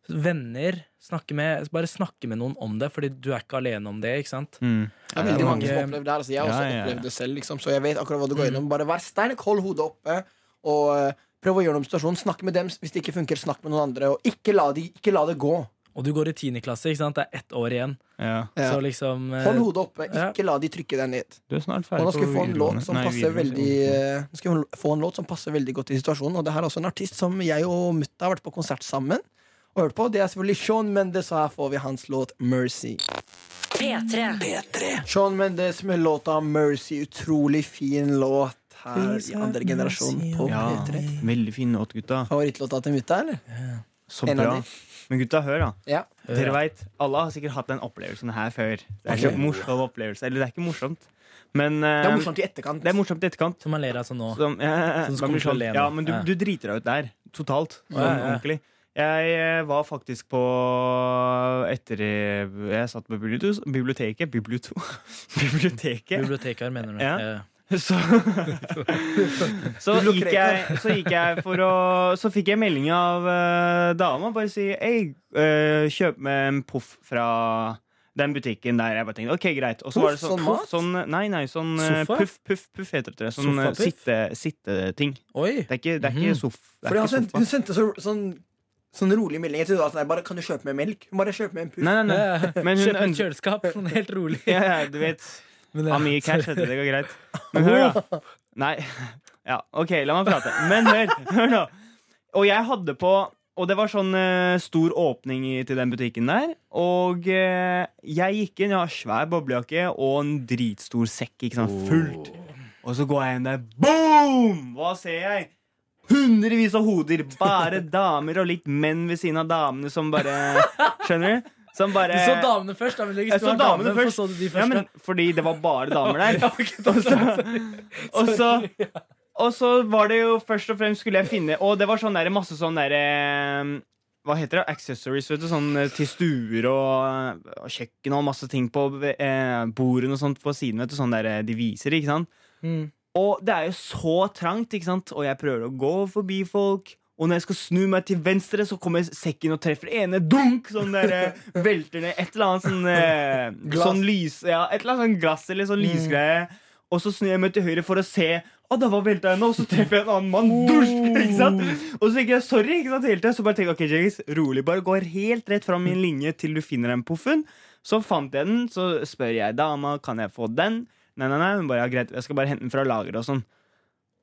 B: venner. Snakke med, bare snakke med noen om det, Fordi du er ikke alene om det. ikke sant?
D: Mm.
C: Det er
B: det er
C: veldig mange som
B: mange-
C: opplever det her. Altså, jeg har
D: Ja,
C: også
D: ja, ja.
C: opplevd det selv, liksom, så jeg vet akkurat hva du går gjennom. Bare vær sterk, hold hodet oppe, og eh, prøv å gjøre noe med situasjonen. Snakk med dem hvis det ikke funker, snakk med noen andre, og ikke la, de, ikke la det gå.
B: Og du går i tiendeklasse, ikke sant? det er ett år igjen.
D: Ja.
C: Ja.
B: Så liksom eh,
C: Hold hodet oppe,
B: Ja.
C: ikke la de trykke deg ned.
D: Du er snart
C: Og
D: ferdig
C: nå skal vi få en låt
D: videregående.
C: som
D: Nei,
C: passer
D: videregående.
C: veldig eh, Nå skal vi få en låt som passer veldig godt i situasjonen. Og det her er også en artist som jeg og mutta har vært på konsert sammen og hørt på. Det er selvfølgelig Sean Mendes, og her får vi hans låt 'Mercy'.
E: P3.
C: Sean Mendes med låta 'Mercy'. Utrolig fin låt her i andre generasjon på
D: Ja,
C: P3.
D: veldig fin låt, gutta.
C: Favorittlåta til mutta, eller?
D: Så
C: En av
D: bra.
C: de.
D: Men gutta, hør, da.
C: Ja.
D: Dere vet, Alle har sikkert hatt den opplevelsen her før. Det er
C: Ok.
D: ikke en morsom opplevelse. Eller det er ikke morsomt, men eh,
C: Um, Det er morsomt i etterkant.
D: det er morsomt i etterkant.
B: Som man ler av sånn nå.
D: Som, ja, ja, ja.
B: Sånn som
D: Man blir
B: kommer til å
D: sånn,
B: le nå.
D: ja, men du,
B: Ja.
D: du driter deg ut der. Totalt. Sånn
B: Ja, ja.
D: ordentlig. Jeg eh, var faktisk på Etter eh, jeg satt på bibliotus- biblioteket Biblioto. Biblioteket
B: Bibliotekar, mener du?
D: Ja. *laughs*
B: Eh,
D: så, så, gikk jeg, så gikk jeg for å Så fikk jeg melding av eh, dama. Bare si Ei, eh, kjøp med en poff fra den butikken der. Jeg bare tenkte, ok, greit Og så var det
C: Poff?
D: sånn,
C: Sånn
D: poff,
C: mat?
D: sånn Nei, nei, sånn eh,
B: Sofa?
D: puff, puff, puff heter det. Sånn eh,
B: Sofapuff?
D: sitte- sitteting.
B: Oi!
D: det er ikke, det er
B: Mhm.
D: ikke sof. Det
C: Fordi
D: er
C: han
D: ikke
C: sendte,
D: sofa.
C: hun sendte så, sånn, sånn rolig melding. Jeg trodde at nei, bare kan du kjøpe med melk? Hun Bare kjøp med en puff.
D: Nei, nei, nei.
B: *laughs* Ja, ja.
D: Men hun
B: Kjøpe Eh, et
D: ønsker
B: kjøleskap, sånn helt rolig.
D: ja, ja, du vet.
B: Men eh, det-
D: Ha mye cash, heter det. Det går greit. Men hør, da. Nei. Ja, OK, la meg prate. Men hør, hør nå. Og jeg hadde på Og det var sånn eh, stor åpning i, til den butikken der. Og eh, jeg gikk inn, jeg har svær boblejakke og en dritstor sekk, ikke sant, fullt. Og så går jeg inn der, boom! Hva ser jeg? Hundrevis av hoder, bare damer og litt menn ved siden av damene som bare Skjønner du? Som bare
B: Du så damene først. Da, men
D: eh,
B: hvis
D: jeg
B: du
D: så
B: var dame,
D: damene
B: hvorfor
D: først.
B: Så du de
D: ja,
B: først
D: men, fordi det var bare damer *laughs* der.
B: *laughs* Ja, ok, da
D: Og så, og
B: Sorry.
D: så, og så var det jo først og fremst skulle jeg finne Og det var sånn der, masse sånn der eh, Hva heter det? Accessories, vet du. Sånn eh, til stuer og, eh, og kjøkken og masse ting på eh, bordene og sånt på siden, vet du. Sånn der eh, de viser, ikke sant.
B: Mm.
D: Og det er jo så trangt, ikke sant? Og jeg prøver å gå forbi folk. Og når jeg skal snu meg til venstre, så kommer sekken og treffer det ene dunk! Sånn der, eh, velter ned et eller annet sånn, eh,
C: Glass.
D: sånn lys Ja, et eller annet sånn glass eller sånn lysgreie. Og så snur jeg meg til høyre for å se. Å, da var velta henne, og så treffer jeg en annen mann. Dusj! Ikke sant? Og så tenker jeg sorry. ikke sant, hele tiden. Så bare tenker jeg, ok, Jeggis, rolig. Bare går helt rett fram i en linje til du finner den poffen. Så fant jeg den, så spør jeg dama kan jeg få den. Nei, nei, nei, hun bare, ja, greit, jeg skal bare hente den fra lageret og sånn.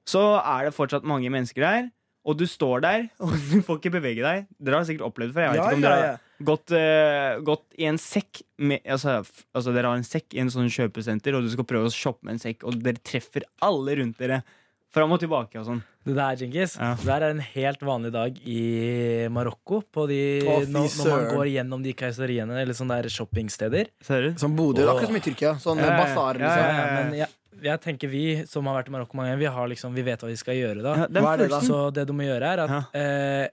D: Så er det fortsatt mange mennesker der. og du står der, *laughs* og du får ikke bevege deg Dere har sikkert opplevd det før. Jeg vet
B: Ja,
D: ikke om
B: ja,
D: dere
B: ja.
D: har gått, eh, gått i en sekk med, altså, f- altså, dere har en sekk i en sånn kjøpesenter, og du skal prøve å shoppe med en sekk, og dere treffer alle rundt dere. Fram og tilbake og sånn.
B: Det der, Genghis,
D: Ja.
B: det der er en helt vanlig dag i Marokko. På de,
C: Å, fy
B: når, når man
C: søren.
B: går gjennom de keiseriene eller sånne der shoppingsteder.
D: Ser du?
C: Som Bodø. Akkurat som i Tyrkia. Sånn
D: Ja, ja, ja.
C: basar,
D: Ja, ja,
C: liksom.
D: ja.
B: Men jeg, jeg tenker vi som har vært i Marokko mange ganger, vi, har liksom, vi vet hva vi skal gjøre da.
D: Ja, den
C: Hva er det da?
D: følelsen-
B: Så det du må gjøre, er at
D: Ja.
B: eh,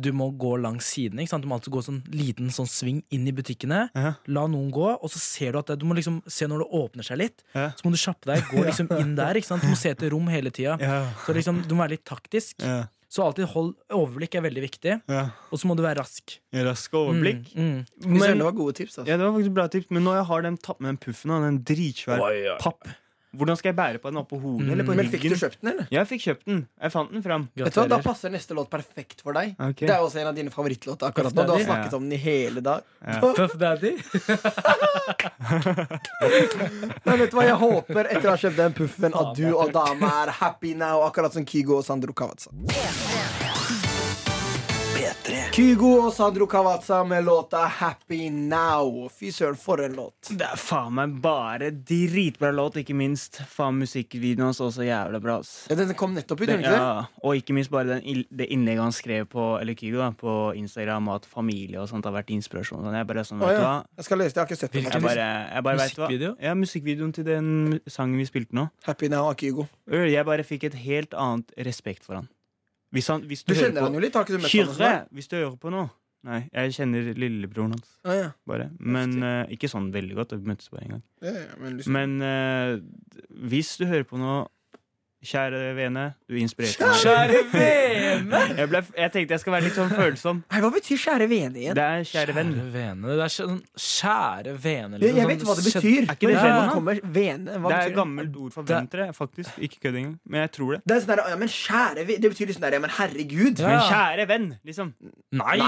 B: du må gå langs siden. Ikke sant? Du må alltid gå sånn liten sånn sving inn i butikkene.
D: Ja.
B: La noen gå, og så ser du at det, du må liksom se når det åpner seg litt.
D: Ja.
B: Så må du kjappe deg, gå
D: *laughs*
B: liksom inn der. Ikke sant? Du må se etter rom hele tida.
D: Ja,
B: Så liksom, du må være litt taktisk.
D: ja,
B: Så alltid hold overblikk er veldig viktig.
D: ja.
B: Og så må du være rask.
D: Rask overblikk.
B: Mm, mm.
C: Fy søren,
D: Men,
C: det var gode tips. Altså.
D: ja, det var faktisk bra tips, men når jeg har den tatt med den puffen, da, den dritsvær
B: Oi, oi.
D: papp. Hvordan skal jeg bære på den oppå hodet
B: Mm.
D: eller på
C: Men fikk du
D: ryggen?
C: kjøpt den, eller?
D: Ja, jeg fikk kjøpt den. Jeg fant den fram.
C: Vet du hva, Da
B: Gratulerer.
C: passer neste låt perfekt for deg.
D: Ok.
C: Det er jo også en av dine favorittlåter akkurat nå. Du har
B: Puff
D: Daddy.
C: snakket om den i hele dag.
D: Ja.
B: Puff Daddy.
C: Men vet du hva, jeg håper etter å ha kjøpt den puffen at
B: Faen,
C: du og dama er happy now, akkurat som Kygo og Sandro Kavatsa. Kygo og Sandro Kavatsa med låta 'Happy Now'. Fy søren, for en låt.
D: Det er faen meg bare dritbra låt, ikke minst. Faen, musikkvideoen hans er også jævla bra. ass.
C: Ja, den kom nettopp ut, gjorde den ikke det?
D: Ja, og ikke minst bare den, ill- det innlegget han skrev på eller Kygo da, på Instagram, og at familie og sånt har vært inspirasjon. og Sånn. Jeg bare sånn,
C: Å,
D: vet du
C: ja.
D: hva?
C: Jeg skal løse det. Jeg har ikke sett den.
D: Jeg
C: faktisk.
D: bare, jeg bare vet du hva?
B: Musikkvideo?
D: Ja, musikkvideoen til den sangen vi spilte nå.
C: Happy Now av Kygo.
D: Jeg bare fikk et helt annet respekt for han. Hvis han hvis
C: Du
D: hører på-
C: kjenner han jo litt, har ikke du møtt han? og
D: Kyrre,
C: sånn?
D: hvis du hører på nå. Nei, jeg kjenner lillebroren hans.
C: Ja, ja.
D: Bare. Men eh, Ikke sånn veldig godt. Vi møttes bare en gang.
C: Ja, ja, men liksom-
D: Men eh, hvis du hører på nå, kjære vene, du inspirerte meg.
B: Kjære vene!
D: Jeg, ble, jeg tenkte jeg skal være litt sånn følsom.
C: Hei, hva betyr 'kjære vene' igjen?
D: Det er kjære venn.
B: Kjære vene. Det er sånn kjære vene.
C: Jeg,
B: liksom,
C: jeg
B: sånn
C: vet hva det
B: kjent-
C: betyr.
D: Er ikke det sånn?
C: Når det
B: venn, da?
C: kommer vene, hva
D: Det
C: betyr
D: er et gammelt ord for venn, tror jeg, faktisk. Ikke kødd engang. Men jeg tror det.
C: Det er sånn der, ja, men kjære vi- Det betyr liksom der, ja, men herregud.
B: Ja.
D: Men kjære venn, liksom.
B: Nei!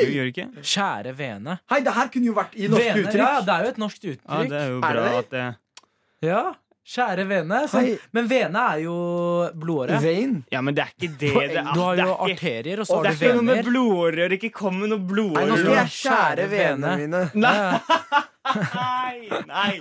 D: Du gjør ikke?
B: Kjære vene.
C: Hei, det her kunne jo vært i norsk
B: Vene,
C: uttrykk.
B: ja, det er jo et norsk
D: Ja, det
B: uttrykk.
D: er jo
C: Er det
D: bra
C: det?
D: at det
B: Ja, kjære vene. Sånn.
C: Hei.
B: Men vene er jo blodåre.
C: Vein.
D: Ja, men det er ikke det det er.
B: Du har
D: Det
B: jo
D: er ikke,
B: arterier, og så
D: og det
B: har
D: er
B: du
D: ikke noe med
B: vener.
D: blodårer å gjøre. Ikke kom med noe
C: Nei, nå
D: blodårer.
C: skal jeg
B: Kjære
C: skjære venene
B: vene.
C: mine.
B: Ja, ja.
D: Nei, nei.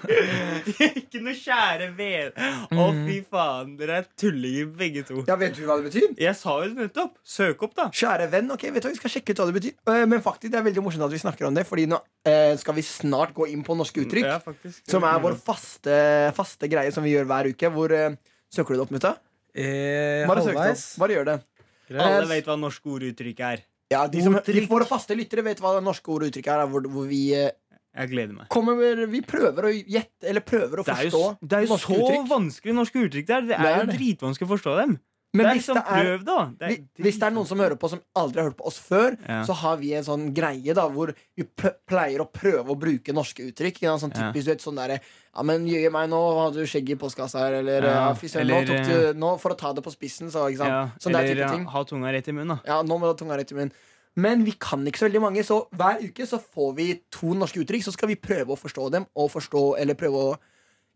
D: Ikke noe kjære vene. Å,
C: Mm.
D: fy faen. Dere er tullinger begge to.
C: Ja, Vet du hva det betyr?
D: Jeg sa jo det nettopp. Søk opp, da.
C: Kjære venn. ok, vet du hva, Vi skal sjekke ut hva det betyr. Eh, Men faktisk, det er veldig morsomt at vi snakker om det, Fordi nå eh, skal vi snart gå inn på norske uttrykk.
D: Ja, faktisk.
C: Som er vår faste, faste greie som vi gjør hver uke. Hvor eh, Søker du det opp, mutta?
B: Eh,
C: Bare søk det opp.
B: halvveis.
C: Bare gjør det.
D: Alle vet hva norske orduttrykk er.
C: Ja, de, som, de våre faste lyttere vet hva det norske ord og uttrykk er. Hvor, hvor vi eh,
D: Jeg gleder meg.
C: kommer med, Vi prøver å gjette Eller prøver å
D: Det er
C: forstå
D: jo, det er jo
C: norske
D: så
C: uttrykk.
D: vanskelig norske uttrykk det er. Det
C: Det
D: er
C: er
D: jo
C: det.
D: dritvanskelig å forstå dem.
C: Men
D: det er
C: hvis
D: liksom,
C: det er,
D: Prøv, da. Det er,
C: Hvi- Hvis det er noen som hører på som aldri har hørt på oss før,
D: Ja.
C: så har vi en sånn greie da hvor vi pl- pleier å prøve å bruke norske uttrykk. Ikke sant? sånn
D: Ja.
C: typisk, du vet, sånn derre Ja, men jøye meg, nå hadde du skjegg i postkassa her, eller
D: Ja,
C: ja, fy søren,
D: eller, eh,
C: nå tok du Nå, for å ta det på spissen, så, ikke sant.
D: ja,
C: sånn der
D: Eller
C: type
D: ja,
C: ting.
D: ha tunga rett i munnen, da.
C: Ja, nå må du ha tunga rett i munnen. Men vi kan ikke så veldig mange, så hver uke så får vi to norske uttrykk. Så skal vi prøve å forstå dem, og forstå, eller prøve å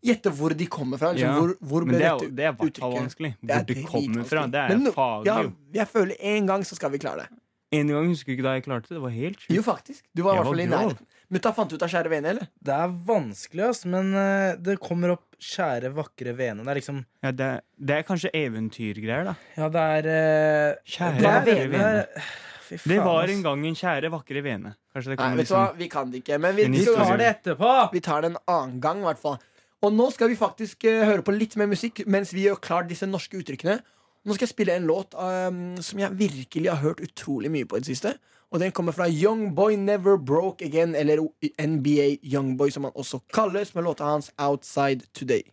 C: gjette hvor de kommer fra. Liksom,
D: Ja,
C: hvor, hvor
D: Men
C: ble
D: det er,
C: dette
D: jo- det er i hvert fall
C: uttrykket?
D: vanskelig.
C: Det er
D: Hvor det kommer fra.
C: dritvanskelig.
D: Det er
C: Men
D: jo
C: nå-
D: faglig,
C: ja,
D: jo.
C: Jeg føler en gang så skal vi klare det.
D: En gang husker du ikke da jeg klarte det. Det var helt sjukt.
C: Jo, faktisk. Du var i
D: Ja,
C: hvert fall i
D: du var.
C: nærheten. Mutta fant ut av kjære vene, eller?
B: Det er vanskelig, ass, men eh, det kommer opp kjære, vakre vene. Det er liksom
D: Ja, det, er- det er kanskje eventyrgreier, da.
B: Ja, det er eh,
D: Kjære,
B: det er
D: vakre vene.
B: det er- Fy faen,
D: Det var
B: ass.
D: en gang en kjære, vakre vene. Kanskje det
C: Nei,
D: kommer
C: vet du hva,
D: liksom
C: vi kan det ikke. Men vi,
D: En
B: Vi
C: vi,
D: historie.
B: tar
C: tar det.
B: det etterpå!
C: vi tar det en annen gang, i hvert fall. Og nå skal vi faktisk eh, høre på litt mer musikk mens vi gjør klart disse norske uttrykkene. Nå skal jeg spille en låt ehm, som jeg virkelig har hørt utrolig mye på i det siste. Og den kommer fra Young Boy Never Broke Again, eller O- NBA Young Boy, som han også kalles, med låta hans Outside Today.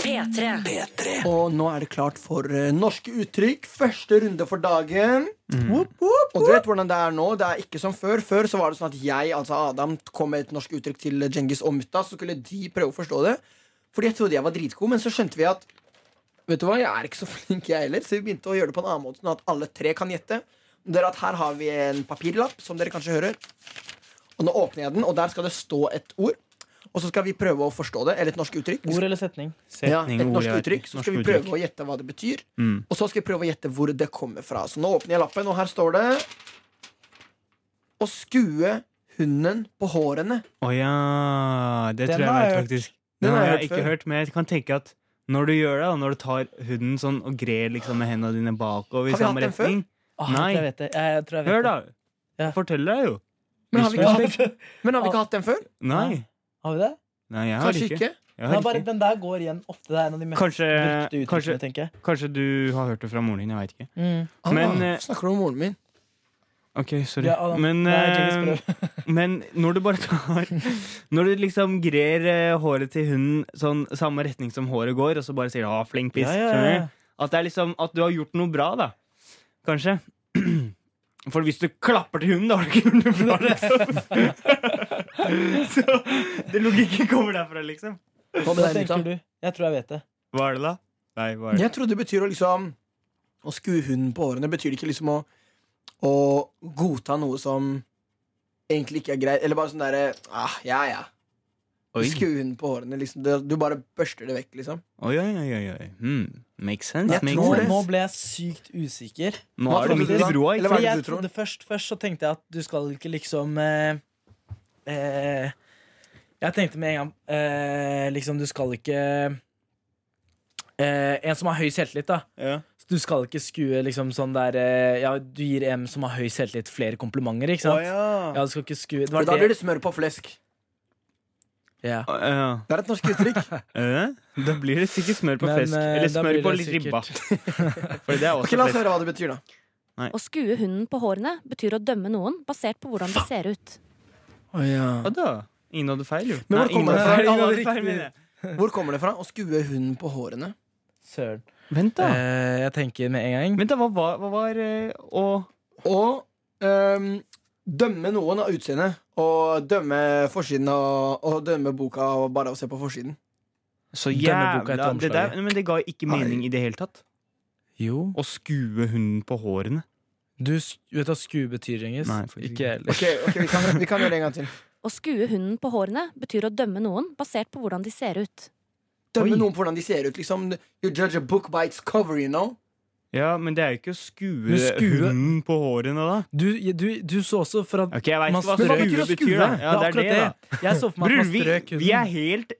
E: P3.
C: Og nå er det klart for eh, norske uttrykk. Første runde for dagen. Whoop, whoop, Og du vet hvordan det er nå. Det er ikke som før. Før så var det sånn at jeg, altså Adam, kom med et norsk uttrykk til Djengis og mutta, så skulle de prøve å forstå det. Fordi jeg trodde jeg var dritgod, men så skjønte vi at Vet du hva, jeg er ikke så *laughs* flink, jeg heller, så vi begynte å gjøre det på en annen måte, sånn at alle tre kan gjette. Det er at Her har vi en papirlapp, som dere kanskje hører. Og nå åpner jeg den, og der skal det stå et ord. Og så skal vi prøve å forstå det, eller et norsk uttrykk. Vi
B: Ord
C: skal,
B: eller setning? Se.
C: ja,
D: sånn Setning,
C: et
D: ord,
C: norsk
D: jeg vet
C: uttrykk,
D: ikke.
C: så skal vi
D: Norsk
C: prøve
D: uttrykk.
C: å gjette hva det betyr.
D: Mm.
C: Og så skal vi prøve å gjette hvor det kommer fra. Så nå åpner jeg lappen, og her står det Å skue hunden på hårene.
D: Å ja. Det
B: Den
D: tror jeg
B: har
D: jeg vet,
B: jeg hørt.
D: faktisk.
C: Den
D: Den
C: har
D: har
C: jeg
D: jeg
C: hørt
D: ikke
C: før.
D: hørt, men jeg kan tenke at når du gjør det, da, når du tar huden sånn og grer liksom med hendene dine bakover i
C: Har vi
D: samme
C: hatt den før?
D: retning
B: Ah,
D: Nei.
B: Jeg, vet det. Jeg, jeg tror jeg vet
D: Hør, da!
B: Ja.
D: Jeg forteller deg jo.
C: Men har vi ikke hatt,
B: det.
C: men har vi ikke hatt den før?
D: Nei.
B: *laughs* Har vi det?
D: Nei, jeg har
C: Kanskje
D: ikke.
C: ikke.
D: Jeg
B: Nei,
D: har
B: bare,
D: ikke.
B: den der går igjen ofte. Det er en av de mest
D: Kanskje,
B: brukte
D: kanskje,
B: uttrykkene, tenker jeg.
D: kanskje du har hørt det fra moren din. Jeg veit ikke.
B: Mm.
C: Ah,
D: Men, eh,
C: snakker du om moren min?
D: Ok, sorry.
B: Ja, Adam.
D: men,
B: Nei, Jenkins,
D: eh, men når du bare
B: *laughs*
D: tar Når du liksom grer eh, håret til hunden sånn samme retning som håret går, og så bare sier du 'ah, flink piss',
B: Ja, ja, ja.
D: skjønner du? At det er liksom At du har gjort noe bra, da. Kanskje. *clears throat* For hvis du klapper til hunden, da har du ikke gjort noe bra, liksom. *laughs* Så det logikken kommer derfra, liksom.
C: Hva med
B: Hva
C: deg, Mita?
B: tenker du? Jeg tror jeg vet det.
D: Hva er det, da? Nei, hva er det?
C: Jeg tror det betyr å liksom Å skue hunden på årene betyr det ikke liksom å, å godta noe som egentlig ikke er greit. Eller bare sånn derre ah, Ja, ja.
D: Oi.
C: Skue hunden på årene. Liksom. Det, du bare børster det vekk, liksom.
D: Oi, oi, oi, oi, oi. Hmm. Makes sense.
C: Jeg
D: makes
B: Nå,
C: tror
D: sense.
C: det.
B: nå ble jeg sykt usikker.
D: Nå
C: Hva
D: er det
C: trodde
D: midt
C: du da?
D: i broa,
C: Eller
D: ikke sant?
C: hva
B: Fordi
C: er det
B: jeg
C: du tror?
B: trodde først, først så tenkte jeg at du skal ikke liksom eh, eh, Jeg tenkte med en gang eh, Liksom, du skal ikke eh, En som har høy selvtillit, da.
D: Ja.
B: Så du skal ikke skue liksom sånn der eh, Ja, du gir en som har høy selvtillit, flere komplimenter, ikke sant? Ja, du skal ikke skue Det
C: For
B: var
C: da blir
B: det.
C: det smør på flesk.
B: Ja.
D: Å, ja.
C: Det er et norsk *laughs* uttrykk.
D: Eh, Da blir det sikkert smør på
B: Men,
D: flesk.
B: eh,
D: Eller
B: da
D: smør
B: blir
D: på
B: det
D: litt
B: sikkert-
D: ribba. For det er også
C: Ok, La oss
D: flesk.
C: høre hva det betyr, da.
F: Å skue hunden på hårene betyr å dømme noen basert på hvordan de ser ut.
D: Hva da? Ingen hadde feil, jo.
C: Men hvor
D: ingen
C: kommer
D: hadde
C: det fra?
D: feil, ingen
C: Alle
D: hadde feil,
C: riktig.
D: mener jeg.
C: Hvor kommer det fra? Å skue hunden på hårene.
B: Søren.
D: Vent, da.
B: *laughs* Eh, jeg tenker med en gang.
D: Vent da, hva var, hva var eh, å
C: Og ehm, dømme noen av utseendet. Og dømme forsiden og, og dømme boka og bare å se på forsiden.
D: Så
B: Denne boka heter
D: jævla det der,
B: Omslaget.
D: Men det ga ikke mening i det hele tatt.
B: Jo.
D: Å skue hunden på hårene.
B: Du s- vet hva skue betyr, Ringis?
D: Nei, faktisk
B: Ikke
D: ikke.
B: jeg heller.
C: Ok, ok, vi, kan, vi kan gjøre det en gang til.
F: Å skue hunden på hårene betyr å dømme noen basert på hvordan de ser ut.
C: Dømme
D: Oi.
C: noen på hvordan de ser ut. Liksom, you judge a book by its cover, you know.
D: Ja, men det er jo ikke å skue,
B: Men skue-
D: hunden på hårene, da.
B: Du, du, du så også for at
D: Ok, jeg vet
B: Man-
D: hva
B: Men hva
D: skue
B: betyr å
D: betyr,
B: skue?
D: da. Ja, det
B: Det er
D: er det,
B: akkurat
D: da.
B: Jeg så for meg
D: Bror,
B: at man
D: vi,
B: strøk
D: vi er
B: hunden.
D: helt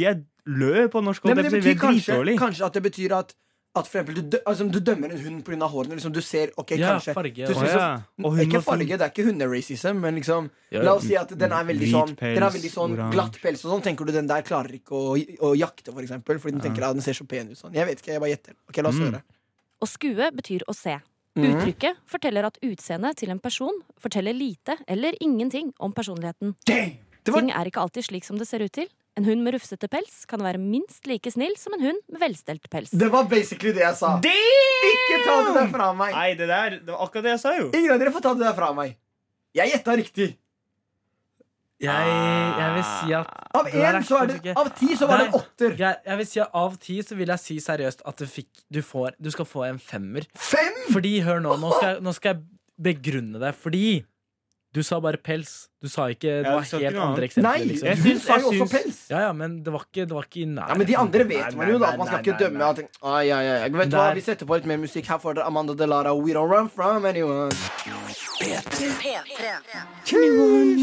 D: Vi er lø på norsk,
C: Nei,
D: og
C: men
D: det
C: det betyr
D: blir
C: kanskje,
D: dritdårlig.
C: kanskje at det betyr at at for eksempel, du, dø, altså, du dømmer en hund pga. hårene. Liksom, du ser, ok,
B: Ja,
C: kanskje
B: farge.
C: Du
D: Å,
B: og-
C: synes-
D: ja. Og hun
C: Ikke
D: var fin.
C: farge, det er ikke hunderacism, men liksom
B: Ja,
C: La oss si at den er veldig
D: hvit
C: sånn, den er
D: pels,
C: veldig sånn
D: oransje.
C: glatt pels og sånn. Tenker du den der klarer ikke å, å jakte, for eksempel, fordi den tenker at den ser så pen ut sånn. Jeg vet ikke, jeg bare gjetter. Ok, la oss
D: Mm.
C: høre.
F: Å skue betyr å se.
C: Mhm.
F: Uttrykket forteller at utseendet til en person forteller lite eller ingenting om personligheten.
C: Det var-
F: Ting er ikke alltid slik som det ser ut til. En hund med rufsete pels kan være minst like snill som en hund med velstelt pels.
C: Det var basically det jeg sa. Ikke ta det der fra meg!
D: Nei, det der Det var akkurat det jeg sa, jo.
C: Ingen av dere får ta det der fra meg. Jeg gjetta riktig.
B: Jeg, jeg vil si at
C: Av
B: Det der er
C: én så er
B: kanskje
C: det
B: ikke-
C: Av ti så var det en
B: Nei.
C: åtter.
B: jeg, jeg vil si at Av ti så vil jeg si seriøst at du, fikk, du, får, du skal få en femmer.
C: Fem!
B: Fordi, hør nå, nå skal, jeg- nå skal jeg begrunne deg. Fordi du sa bare pels. Du sa ikke Det
D: Ja,
B: var
D: du sa
B: helt
D: ikke noe
B: andre
D: annet.
B: eksempler.
C: Nei,
B: Liksom.
D: jeg
C: du
D: syns-
C: sa
D: jeg
C: jo også
D: syns-
C: pels.
B: Ja, ja, men det var ikke, det var ikke i
C: Ja,
B: nærheten.
C: men De andre
D: Nei,
C: vet man
D: nei,
C: jo, da.
D: nei,
C: Man skal
D: nei,
C: ikke
D: nei,
C: dømme.
D: nei.
C: At, ai, ai, ai. Vet du hva,
B: Der.
C: Vi setter på litt mer musikk. Her får dere Amanda Delara, We Don't Run From Anyone.
G: P3.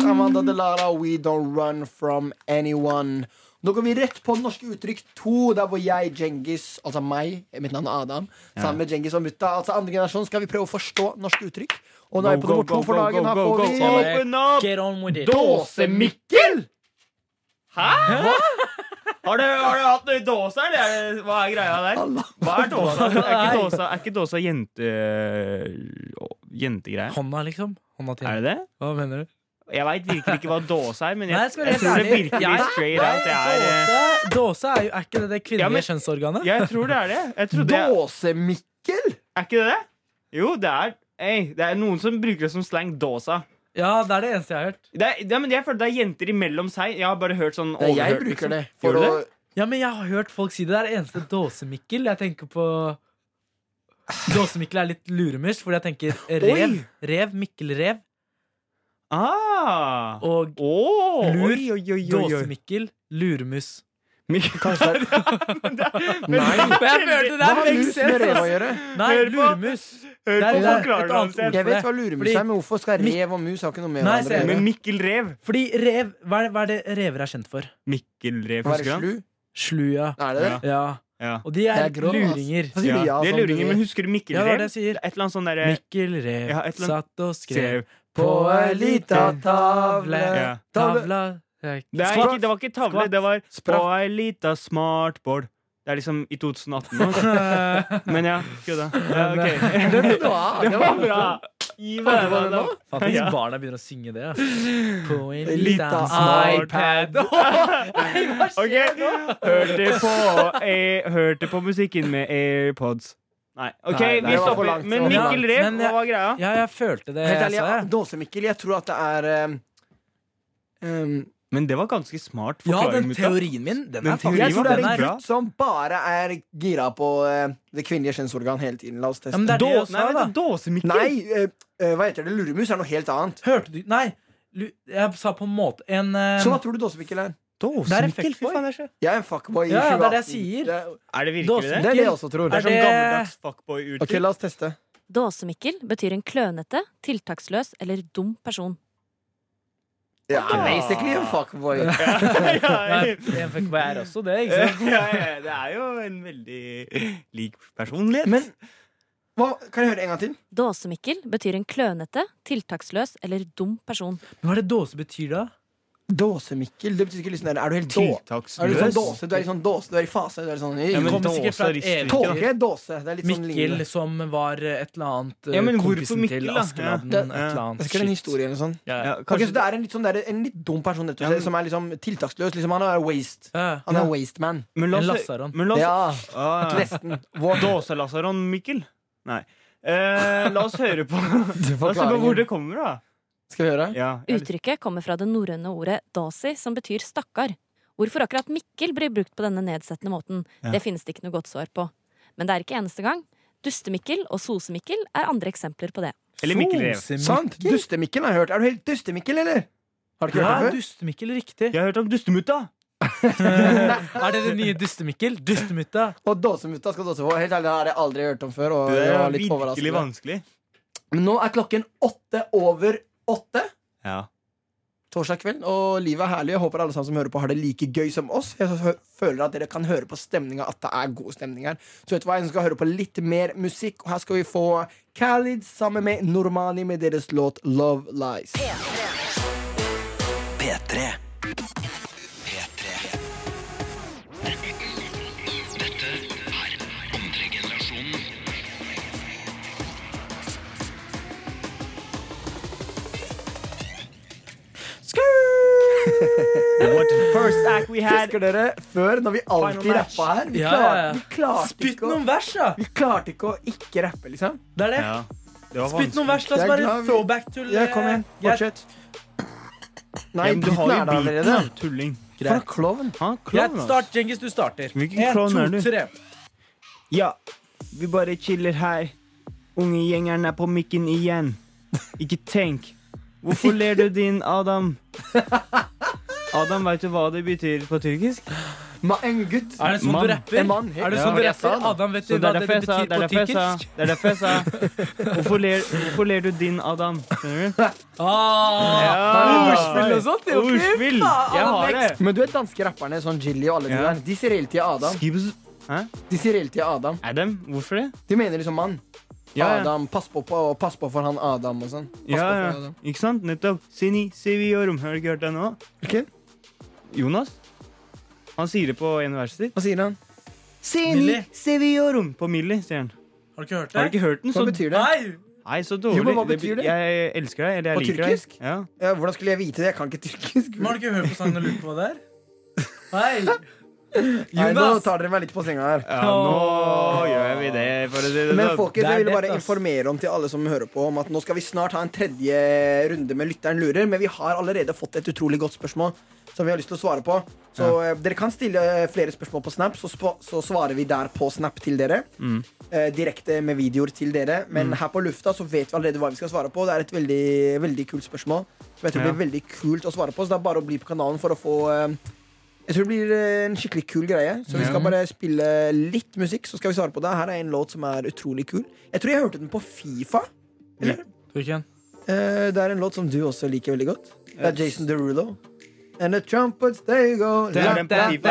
C: Amanda Delara, We Don't Run From Anyone. Nå går vi rett på norske uttrykk to, der hvor jeg, Djengis, altså meg, mitt navn er Adam, sammen med Djengis og mutta, altså andre generasjon, skal vi prøve å forstå norske uttrykk. Og nå er vi på nummer to for dagen. Her får vi
D: Open up!
B: Get on with it.
D: Dåsemikkel! Hæ? Har du, har du hatt noe dåse, eller? Er det- Hva er greia der? Hva er dåsa? Er ikke dåsa, er ikke dåsa jente... jentegreier?
B: Hånda, liksom. Hånda til.
D: Er det det?
B: Hva mener du?
D: Jeg veit virkelig ikke hva dåse er, men
B: Nei, jeg
D: jeg,
B: skal være
D: jeg tror det
B: helt ærlig.
D: virkelig
B: Jeg-
D: straight out det er eh,
B: Dåse, dåse er jo er ikke det det kvinnelige
D: Ja, men-
B: kjønnsorganet?
D: Jeg tror det er det. Jeg trodde jeg,
C: Dåsemikkel?
D: er ikke det det? Jo, det er Ei, Det er noen som bruker det som slang. Dåsa.
B: Ja, det er det eneste jeg har hørt.
D: Det er, det, er- men jeg føler det er jenter imellom seg. Jeg har bare hørt sånn
C: Nei, jeg
D: overhørt,
C: bruker
D: liksom.
C: det
D: Gjør
C: for
D: du
C: å
D: det?
B: Ja, men jeg har hørt folk si det. Det er det eneste dåsemikkel. Jeg tenker på Dåsemikkel er litt luremus, fordi jeg tenker rev.
D: Oi!
B: Rev, Mikkel Rev.
D: Ah, Ja!
B: Og
D: Åh,
B: Lur,
D: oi, oi, oi, oi, oi. *laughs*
B: Dåsemikkel, luremus.
C: Kanskje det er Nei.
B: Og jeg følte det
C: Hva
B: er
C: har lus med rev å
B: Brexit!
C: gjøre?
B: Nei,
D: Hør på.
B: luremus.
D: Hør
B: Det er-
D: på
B: det er et
D: forklarende
B: annet
D: hans.
B: ord.
C: Jeg vet hva luremus
B: Fordi-
C: er, men hvorfor skal rev og mus ha ikke noe med
B: Nei,
C: hverandre å
B: ser
C: gjøre?
D: Men Mikkel Rev
B: Fordi rev, hva er, hva er det rever er kjent for?
D: Mikkel Rev,
C: Være
D: husker du han?
C: slu?
B: Slu, ja.
C: Er det det?
B: *laughs*
D: Ja.
B: ja.
D: Ja.
B: Og de er,
C: Det er grov, ass.
B: luringer.
C: Hvorfor sier
D: Ja.
C: du ja
D: Det er
C: sånn, du
D: luringen,
C: vet?
D: men husker du Mikkel
B: Ja, det
D: Rev?
B: er det jeg sier.
D: Et eller annet sånn derre
B: Mikkel Rev
D: Ja, et eller annet-
B: satt og skrev
D: Skrev.
B: på ei lita tavle.
D: Ja.
B: Tavla
D: Det, er
B: Skvatt.
D: ikke, det var ikke tavle,
B: Skvatt.
D: det var på
B: Spratt.
D: ei lita smartboard. Det er liksom i 2018
B: *laughs*
D: nå. Men ja, kødda. Ja,
B: eh,
D: ok.
C: Det vet du hva,
D: *laughs* Det
C: det
D: var
C: var-
D: bra! Gi meg
C: var det
D: den, da.
C: nå?
B: Faen, hvis
D: Ja.
B: barna begynner å synge det. *laughs* ass. På en
C: Lita
B: lita
C: smart-
B: *laughs* iPad.
D: Ok, hørte på, eh, hørte på musikken med AirPods. Nei, ok,
B: Nei,
C: det
D: vi
C: var for
D: stopper.
C: langt, det
D: Men
C: var for
D: Mikkel
B: langt.
D: Rev,
B: Men jeg-
D: hva var greia?
B: Ja, jeg følte det.
C: Helt
B: Jeg
C: ærlig,
B: sa
C: ja.
B: det.
C: Dåsemikkel, jeg tror at det er ehm, eh, em,
D: Men det var ganske smart
B: Ja,
D: forklaring.
B: den
D: gutta.
B: teorien min, den
D: Den
B: er faktisk
D: teorien
C: Jeg
D: var
C: tror det er
D: den
C: en
D: bra.
C: gutt som bare er gira på eh, det kvinnelige kjønnsorgan hele tiden. La oss teste.
B: Ja, men det er det jeg
D: Dåse,
B: sa,
D: nei,
B: da.
D: vent, dåsemikkel.
C: Nei, eh, eh, hva heter det? Luremus er noe helt annet.
B: Hørte du Nei, lu- jeg sa på en måte en eh,
D: Sånn
C: Så hva tror du Dåsemikkel er?
B: Det er
D: Dåsemikkel,
B: effekt
D: fy
B: for.
D: faen, det er så
C: Jeg er en fuckboy. i
B: Ja, ja, det er
C: 2018.
B: det jeg sier.
C: Det er-
D: Er det virkelig
C: Det
D: det?
C: er det jeg også tror.
D: Det
B: Er
D: er sånn
B: det-
D: gammeldags fuckboy-uttrykk.
C: Ok, La oss teste.
F: Dåsemikkel betyr en klønete, tiltaksløs eller dum person.
C: Ja, basically en fuckboy.
D: *laughs* ja,
B: Nei, en fuckboy er også det, ikke
D: *laughs*
B: sant?
D: ja, ja, det er jo en veldig lik personlighet.
C: Men hva, kan jeg høre en gang til?
F: Dåsemikkel betyr en klønete, tiltaksløs eller dum person.
B: Men Hva er det dåse betyr, da?
C: Dåsemikkel. Det betyr ikke liksom der, Er du helt då... Er du
D: tiltaksløs.
C: sånn dåse? Du er i sånn dåse, du er i fase, du er i sånn
D: Ja, men
B: Kom sikkert fra
D: dåse
B: et
D: rister
B: evig-
D: ikke, da.
C: Tåke, dåse. Det er litt sånn
B: Mikkel
C: lignende.
B: som var eh, et eller annet eh,
D: Ja, men hvorfor
B: kompisen
D: Mikkel,
B: til
D: da?
B: Askeladden.
C: Ja.
B: Et eller sånn.
C: Jeg
B: annet
C: husker en
B: shit.
C: historie eller noe sånt.
B: Ja,
D: Ja,
B: ja.
C: Ok,
D: kanskje
C: så det er en litt, sånn der, en litt dum person rett og slett,
D: Ja, men-
C: som er liksom tiltaksløs. Liksom, han er waste.
B: Ja.
C: Han er waste man.
D: men la
B: En
D: oss-
B: lasaron.
D: Men la oss
C: Ja,
D: Ah, ja.
C: nesten. Vår
D: Dåselasaron, Mikkel? Nei. Eh, la oss høre på La oss se på Altså, hvor det
C: forklaring.
D: kommer, da.
C: Skal vi høre?
D: Ja, jeg-
F: Uttrykket kommer fra det norrøne ordet dasi, som betyr stakkar. Hvorfor akkurat Mikkel blir brukt på denne nedsettende måten,
D: Ja.
F: det finnes det ikke noe godt svar på. Men det er ikke eneste gang. Dustemikkel og Sose-Mikkel er andre eksempler på det.
D: Eller Mikkel Rev.
B: Sose-Mikkel.
C: Sant? Dustemikkel har jeg hørt. Er du helt Dustemikkel, eller? Har du ikke
B: Ja,
C: hørt det før?
B: Dustemikkel, riktig.
D: Jeg har hørt om Dustemutta.
B: *laughs* er det det nye Dustemikkel? Dustemutta.
C: Og dåsemutta skal dåse på. Helt ærlig, det har jeg aldri hørt om før. Og
D: Det
C: det
D: er
C: var litt
D: virkelig
C: overraskende.
D: vanskelig.
C: Men nå er klokken åtte over åtte.
D: Ja.
C: Torsdag kveld, og livet er herlig. Jeg håper alle sammen som hører på har det like gøy som oss. Jeg hø- føler at dere kan høre på stemninga at det er god stemning her. Så vet du hva, jeg skal høre på litt mer musikk, og her skal vi få Khalid sammen med Normani med deres låt Love Lies.
E: P3. P3. Dette er andre generasjonen.
D: What first act we had
C: *laughs* Husker dere før, når vi alltid
D: Final match.
C: rappa her? Vi,
B: Ja,
C: klar,
B: ja, ja.
C: vi, klarte
B: Ah, Spytt
C: ikke å,
B: noen vers, da!
C: vi klarte ikke å ikke rappe, liksom.
B: Det er det.
D: Ja, det var
B: Spytt
D: vanskelig.
B: noen vers. La oss
C: Jeg er
B: bare
C: glad vi-
B: throwback til
C: Ja, kom igjen.
B: eh, greit.
C: Fortsett.
D: Ja,
C: Nei,
D: men du
C: dritten
D: har jo
C: er der
D: beaten,
C: allerede.
D: da, Ah. tulling.
C: For en klovn.
D: Han
B: Greit,
D: klovn, ass.
B: start, Djengis. Du starter.
D: Hvilken
B: En,
D: klovn er du?
B: to, tre.
D: Ja, vi bare chiller her. Ungegjengeren er på mikken igjen. Ikke tenk. Hvorfor ler du din, Adam? Adam, veit du hva det betyr på tyrkisk?
C: Ma, en gutt.
B: Er det sånn
D: Mann.
B: du rapper?
C: En mann, helt-
B: Er det
C: Ja,
B: sånn du
C: jeg sa
B: rapper?
C: det.
B: Adam, vet du
D: Så det
B: hva
D: er
B: det
D: derfor jeg sa
B: betyr
D: det er
B: på
D: derfor jeg sa-
B: tyrkisk?
D: det er derfor jeg sa Hvorfor ler, hvorfor ler du din, Adam? Skjønner du?
B: Ah, Ordspill og sånt. det er jo fint.
D: Ordspill! Jeg har det.
C: Men du vet danske rapperne, sånn Jilly og alle de
D: Ja.
C: der, de sier hele tida Adam.
D: Skibs. Hæ?
C: De sier hele tida Adam.
D: Adam? Hvorfor det?
C: De mener liksom mann.
D: Ja, ja.
C: Adam, pass på, på, pass på for han Adam og sånn. Pass
D: Ja,
C: på for
D: ja.
C: Adam.
D: Ikke sant? Nettopp. Sini, Siviorum. Har du ikke hørt det nå?
C: Ok.
D: Jonas? Han sier det på en verset sitt.
C: Hva sier han?
D: Sini, Siviorum. På Millie, sier han.
B: Har du ikke hørt det?
D: Har du ikke hørt den?
C: Hva
D: Så,
C: betyr det?
B: Nei!
D: nei, så dårlig.
C: Jo, men hva betyr det?
D: Jeg elsker deg, eller jeg
C: På
D: liker
C: tyrkisk?
D: deg. Ja.
C: Ja, hvordan skulle jeg vite det? Jeg kan ikke tyrkisk.
B: Men har du ikke hørt på sangen og lurt på hva det er? Hei!
C: Nei, nå
B: Jonas!
C: tar dere meg litt på senga her.
D: ja, nå gjør vi det, for å si det
C: Men
D: sånn.
C: folkens,
B: det er
C: jeg vil
B: det,
C: bare
B: ass.
C: informere om til alle som hører på Om at nå skal vi snart ha en tredje runde med Lytteren lurer. Men vi har allerede fått et utrolig godt spørsmål som vi har lyst til å svare på. Så eh, dere kan stille eh, flere spørsmål på Snap, så, spa- så svarer vi der på Snap til dere.
D: Mm.
C: Eh, direkte med videoer til dere. Men her på lufta så vet vi allerede hva vi skal svare på. Det er et veldig, veldig kult spørsmål. Som jeg tror blir veldig kult å svare på. Så det er bare å bli på kanalen for å få eh, Jeg tror det blir eh, en skikkelig kul greie. Så vi skal bare spille litt musikk, så skal vi svare på det. Her er en låt som er utrolig kul. Jeg tror jeg hørte den på Fifa.
B: Tror ikke han.
C: Eh, det er en låt som du også liker veldig godt. Det er Jason Derulo. And the trumpets, they go
D: Det er den på FIFA.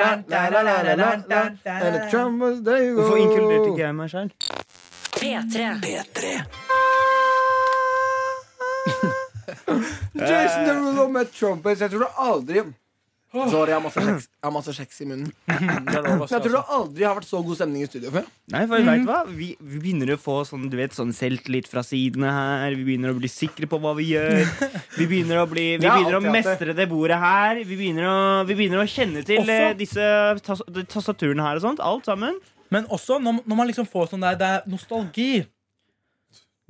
C: And the trumpets, they go
D: Hvorfor inkluderte ikke jeg meg sjøl?
F: P3.
C: Jason Derulo med trumpets. Jeg tror du aldri Sorry, jeg har masse kjeks, jeg har masse kjeks i munnen.
B: Det er lov å si,
C: Men jeg tror
B: altså.
C: det aldri har vært så god stemning i studio før.
D: Nei, for vet
C: Mhm.
D: du hva? Vi, vi begynner å få sånn, du vet, sånn selvtillit fra sidene her. Vi begynner å bli sikre på hva vi gjør. Vi begynner å, bli,
C: *laughs*
D: vi
C: Jeg har
D: begynner å
C: alltid hatt
D: mestre det bordet her. Vi begynner å, vi begynner å kjenne til eh, disse tas de tastaturene her og sånt. Alt sammen.
B: Men også når, når man liksom får sånn der Det er nostalgi.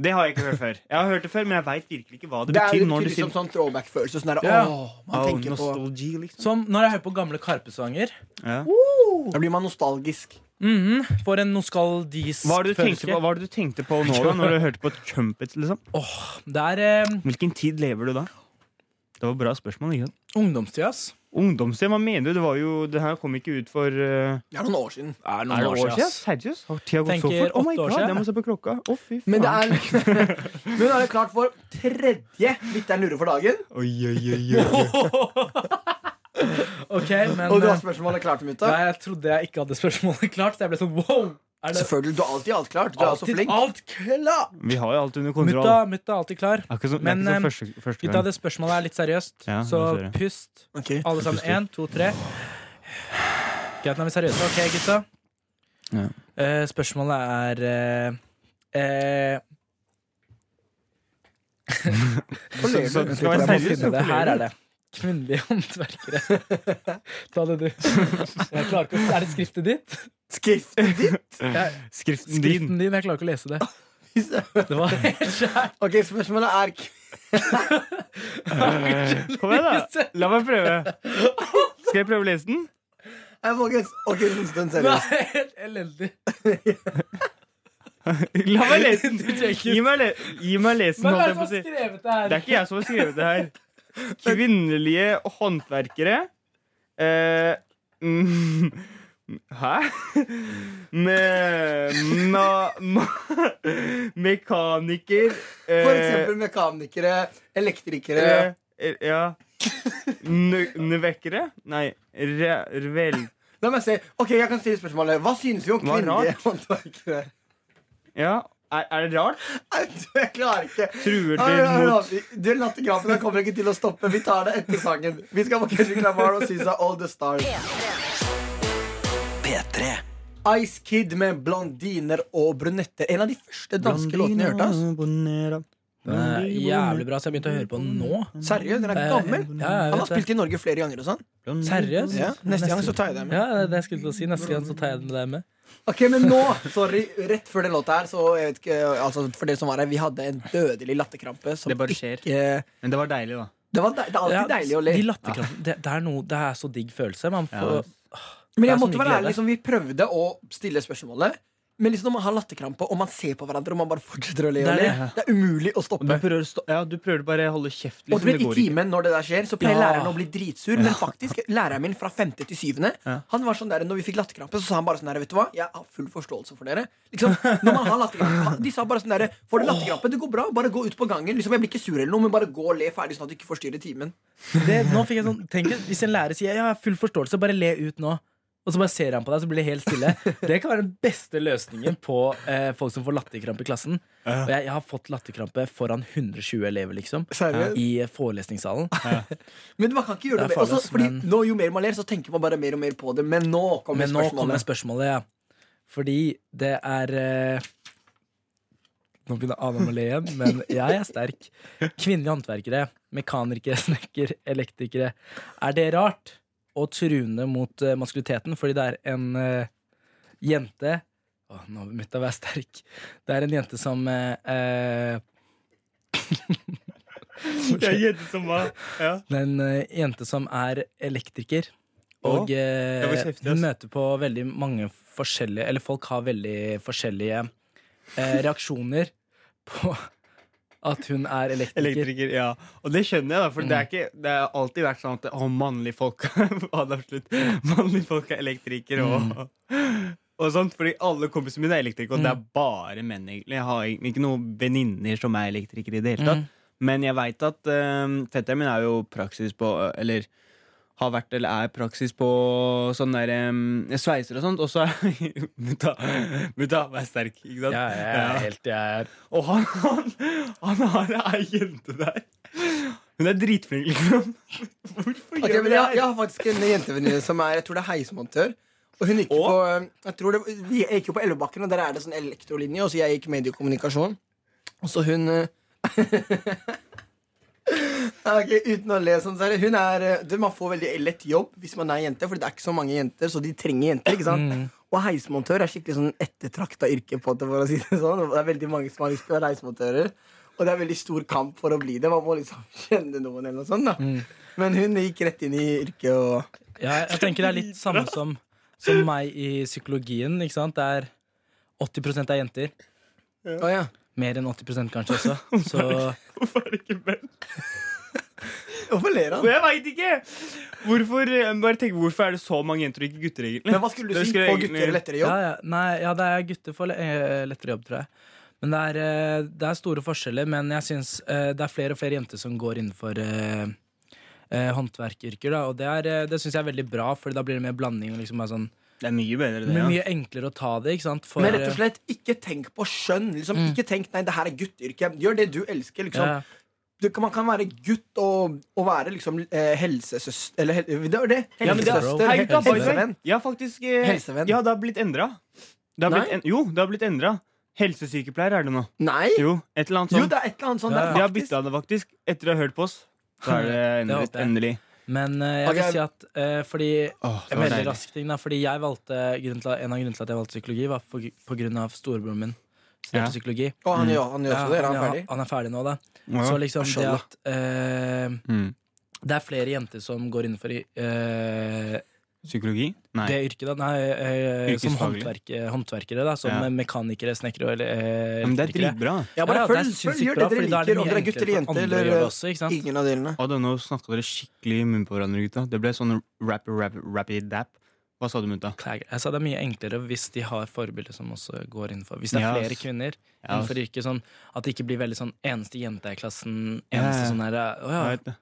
D: Det har jeg ikke hørt før. Jeg har hørt det før, men jeg veit virkelig ikke hva det,
C: Det er
D: betyr.
C: jo
D: når du
C: liksom
D: sier
C: sånn throwback-følelse. Sånn der,
B: Ja.
C: åh, man
D: Oh,
C: tenker på
D: nostalgi, liksom.
B: Som når jeg hører på gamle Karpe-sanger.
D: Ja.
C: Da blir man nostalgisk.
B: Mhm, For en nostalgisk
D: Hva er det du tenkte på,
B: følelse.
D: hva er det du tenkte på nå, da? Når du hørte på Trumpets, liksom?
B: Det er eh,
D: Hvilken tid lever du da? Det var et bra spørsmål. ikke sant?
B: eh, ungdomstida, ass.
D: Ungdomstid, hva mener du? Det var jo, det her kom ikke ut for eh,
C: Det er noen år siden.
B: Er
D: Er det år siden? Seriøst? Har tida gått så
B: Tenker
D: fort? Oh my
B: åtte år
D: god,
B: siden.
D: jeg må se på klokka. Å, fy faen.
C: Men det er *laughs* Men da er det klart for tredje lytteren lurer for dagen.
D: Oi, oi, oi, oi.
B: *laughs* Ok, men
C: Og du har
B: eh,
C: spørsmålet klart, mutta.
B: Nei, jeg trodde jeg ikke hadde spørsmålet *laughs* klart, så jeg ble sånn wow! Er det
C: Selvfølgelig, du har alltid alt klart. Du er også
B: alltid
C: flink.
B: alt klar?
D: *laughs* Vi har jo alt under kontroll.
B: Mutta, mutta er alltid klar.
D: Akkurat som,
B: Men,
D: det er
B: eh,
D: ikke som første, første
B: Gutta,
D: gang.
B: det spørsmålet er litt seriøst,
D: Ja,
B: så
D: det ser jeg.
B: pust.
C: Ok.
B: Alle sammen. Én, to, tre. Greit, nå er vi seriøse. Ok, gutta.
D: Ja.
B: Eh, spørsmålet er eh, eh,
C: Hvorfor ler
D: Så-
C: du?
D: skal være
B: jeg må
D: seriøs,
B: finne det.
D: hvorfor
B: Her
D: ler
B: er det. Kvinnelige håndverkere. *laughs* Ta det, du. Jeg klarer ikke å Er det skriftet ditt?
C: Skrift.
B: Jeg,
D: Skriften din.
B: skriften din, jeg klarer ikke å lese det. Det var helt skjært.
C: Ok, spørsmålet er
D: Eh,
B: *laughs*
D: Kom igjen, da. La meg prøve. Skal jeg prøve å lese den? *laughs*
C: Nei, folkens. Ok, en stund
B: Det var
C: seriøst.
B: helt elendig.
D: La meg lese
B: *laughs* Du trenger
D: den.
B: ikke-
D: Gi meg, le gi meg lesen,
B: Hvem er
D: holdt jeg på
B: det som har
D: å si.
B: skrevet det
D: Det er
B: her?
D: ikke jeg som har skrevet *laughs* det her. Kvinnelige håndverkere. Eh, mm, *laughs* hæ? Me, ma, ma, mekaniker eh,
C: For eksempel mekanikere, elektrikere
D: eh, eh, Ja. Nø- Nøvekkere? Nei, re, vel...
C: La meg se. Ok, jeg kan stille spørsmålet. Hva synes vi om
D: Hva er
C: kvinnelige håndverkere?
D: Ja, er, er det rart?
C: Nei, Jeg klarer ikke.
D: Truer
C: Hei,
D: til
C: hei, hei,
D: mot
C: vi- Du Lattergrafen her kommer ikke til å stoppe. Vi tar det etter sangen. Vi skal på Kendrick Lamar og Sisa All The Stars.
E: P3
C: Ice Kid med blondiner og brunetter. En av de første danske låtene jeg hørte. ass.
B: Den er jævlig bra, så jeg begynte å høre på den nå.
D: Mm.
C: Seriøst,
D: Eh,
C: den er gammel.
B: Ja, jeg
C: Han har
B: vet det.
C: spilt i Norge flere ganger og sånn.
B: Seriøst?
C: Ja, neste gang så tar jeg det med.
B: Ja, det er det jeg skulle til å si. Neste gang så tar jeg den med deg med.
C: Ok, men nå, sorry, rett før den låta her, så jeg vet ikke, altså for dere som var her, vi hadde en dødelig latterkrampe som
D: Det bare skjer.
C: ikke
D: Men det var deilig, da.
C: Det, var de, det er alltid
B: Ja,
C: deilig å le.
B: De latterkrampene. Det, det, er noe, det er så digg følelse. Man får,
D: Ja.
C: Men
B: Det
C: jeg
B: er så
C: måtte
B: mye
C: være ærlig,
B: glede.
C: liksom, Vi prøvde å stille spørsmålet. Men liksom når man har latterkrampe og man ser på hverandre og man bare fortsetter å le, og
B: Det
C: le
B: er
C: det er umulig å
D: Og du
C: stoppe.
D: prøver, å stå- ja, du prøver bare å holde kjeft.
C: Og du
D: Liksom.
C: vet,
D: Det
C: I
D: går ikke.
C: timen når det der skjer, så pleier
B: Ja.
C: læreren å bli dritsur. Men faktisk, læreren min fra femte til syvende
D: Ja.
C: Han var sånn der, når vi fikk latterkrampe, så sa han bare sånn der, vet du hva, jeg har full forståelse for dere. Liksom, når man har latterkrampe han- De sa bare sånn der, får du latterkrampe, det går bra, bare gå ut på gangen. Liksom, Jeg blir ikke sur eller noe, men bare gå og le ferdig, sånn at du ikke forstyrrer timen.
B: det, nå fikk jeg sånn, tenk, hvis en lærer sier 'jeg har full forståelse', bare le ut nå. Og så bare ser han på deg, så blir det helt stille. Det kan være den beste løsningen på eh, folk som får latterkrampe i klassen. Og jeg, jeg har fått latterkrampe foran 120 elever, liksom.
C: Seriøst?
B: I eh, forelesningssalen.
C: Men man kan ikke gjøre
B: Det er
C: det, mer. Også,
B: farlig, ass,
C: fordi
B: men-
C: nå, Jo mer man ler, så tenker man bare mer og mer på det. Men nå kommer
B: Men nå kommer
C: spørsmålet.
B: spørsmålet, ja. Fordi det er eh, Nå begynner Adam å le igjen, men jeg er sterk. Kvinnelige håndverkere, mekanikere, snekker, elektrikere. Er det rart å trune mot eh, maskuliteten fordi det er en eh, jente Å, nå begynte jeg å være sterk. Det er en jente som eh, eh,
D: Jeg gjetter som hva. Ja.
B: Det er en eh, jente som er elektriker. Og eh,
D: det var kjeft,
B: hun
D: ass.
B: møter på veldig mange forskjellige Eller folk har veldig forskjellige eh, reaksjoner på at hun er elektriker.
D: Elektriker, ja. Og det skjønner jeg, da. For det,
B: Mm.
D: er ikke, det har alltid vært sånn at å, mannlige folk *laughs* Absolutt. Mannlige folk er elektrikere og,
B: Mm.
D: og sånt. Fordi alle kompisene mine er elektrikere, og det er bare menn, egentlig. Jeg har egentlig ikke noen venninner som er elektrikere i det hele
B: Mm.
D: tatt. Men jeg veit at eh, fetteren min er jo praksis på Eller har vært eller er praksis på sånn der eh, sveiser og sånt. Og så er *laughs* Mutta, mutta, vær sterk, ikke sant?
B: Ja, jeg er helt jeg er.
D: Og han, han, han har ei jente der. Hun er dritflink, liksom. Hvorfor gjør
C: Ok,
D: vi
C: men
D: det
C: jeg,
D: her?
C: jeg har faktisk en jentevenninne som er Jeg tror det er heismontør. Og hun gikk
D: Og?
C: på eh, jeg tror det, Vi jeg gikk jo på Elvebakken, og der er det sånn elektrolinje. Og så jeg gikk mediekommunikasjon. Og så hun eh, Nei, Ah, ok, uten å le sånn, så er det Hun er eh, du, Man får veldig lett jobb hvis man er jente, Fordi det er ikke så mange jenter, så de trenger jenter. ikke sant? Og heismontør er skikkelig sånn ettertrakta yrke, på det, for å si det sånn. Det er veldig mange som har lyst til å være heismontører. Og det er veldig stor kamp for å bli det. Man må liksom *laughs* kjenne noen eller noe sånt. da men hun gikk rett inn i yrket og
B: Ja, jeg tenker det er litt samme som, som meg i psykologien. Ikke sant? Det er 80 er jenter.
C: Å ja.
B: Mer enn 80
D: *laughs*
B: kanskje
D: Oh
B: også. Så
D: Hvorfor er det ikke menn?
C: Hvorfor ler
D: Og
C: han?
D: jeg veit ikke! Hvorfor, jeg bare tenk, hvorfor er det så mange jenter og ikke gutter, egentlig?
C: Men hva skulle
D: Det
C: du si?
D: skulle
C: Få
D: egentlig-
C: gutter lettere
B: ja,
C: jobb?
B: ja, nei, ja, det er gutter får le- eh, lettere jobb, tror jeg. Men det er, eh, det er store forskjeller, men jeg syns eh, det er flere og flere jenter som går innenfor eh, eh, håndverkyrker, da. Og det, er, eh, det syns jeg er veldig bra, for da blir det mer blanding. Og liksom bare sånn,
D: Det er mye bedre,
B: det
D: det.
B: er
D: Ja.
B: mye enklere å ta det, ikke sant? For,
C: Men rett og slett, ikke tenk på skjønn. Liksom, Ikke tenk 'nei, det her er gutteyrke'. Gjør det du elsker.
B: eh, ja,
C: liksom du, kan- Man kan være gutt og, og være liksom eh, helsesøster Eller hel, det er det.
D: Ja, men det er-
C: Helsesøster.
D: Hei, gutta, by the way.
C: Helsevenn.
D: Jeg har faktisk eh,
C: Helsevenn.
D: Ja, det har blitt endra. Det har
C: Nei.
D: blitt en, jo, det har blitt endra. Helsesykepleier er det nå.
C: Nei!
D: Jo, et eller annet
C: Jo,
D: sånt.
C: det er et eller annet sånt
B: Ja,
C: der,
D: De har
C: faktisk.
D: bytta det, faktisk. Etter å ha hørt på oss. Så
C: *laughs*
D: er det endret,
B: håper jeg.
D: endelig.
B: Men eh, jeg
C: Ok.
B: vil si at eh, fordi
D: Åh, det
B: En
D: var
B: veldig
D: deilig.
B: rask ting, da. Fordi jeg valgte grunnen til, En av grunnene til at jeg valgte psykologi, var for, på grunn av storebroren min. Studerte
D: Ja.
B: psykologi.
C: Og han gjør, han gjør også det. Er han
B: ja,
C: ferdig?
B: han er ferdig nå, da.
D: Ja.
B: Så liksom det
C: Mashallah.
B: at eh,
D: Mm.
B: Det er flere jenter som går innenfor i, eh,
D: Psykologi? Nei.
B: det yrket, da. Nei, eh, som
D: Yrkesfaglig.
B: håndverk, håndverkere, da. Som
D: Ja.
B: mekanikere, snekkere og eh,
D: Ja, men det er
B: elektrikere.
D: dritbra.
C: Ja, bare
B: Ja, ja, det er
C: følg, følg,
B: sinnssykt
C: gjør
B: bra,
C: det dere
B: fordi da er det
C: liker. Om
B: mye
C: dere er gutter
B: enklere
C: eller jenter
B: for andre å
C: eller
B: gjøre det også, ikke sant?
C: ingen av delene.
D: Å, da, nå snakka dere skikkelig i munnen på hverandre, gutta. Det ble sånn rap, rap, rappy-dap. Hva sa du, mutta?
B: Klager. Jeg sa altså, det er mye enklere hvis de har forbilder som også går innenfor. Hvis det er
D: Ja,
B: flere
D: ass.
B: kvinner
D: Ja, ass.
B: innenfor yrket, sånn at det ikke blir veldig sånn eneste jente i klassen,
D: Ja,
B: eneste
D: ja.
B: sånn her Å ja.
D: Jeg vet det.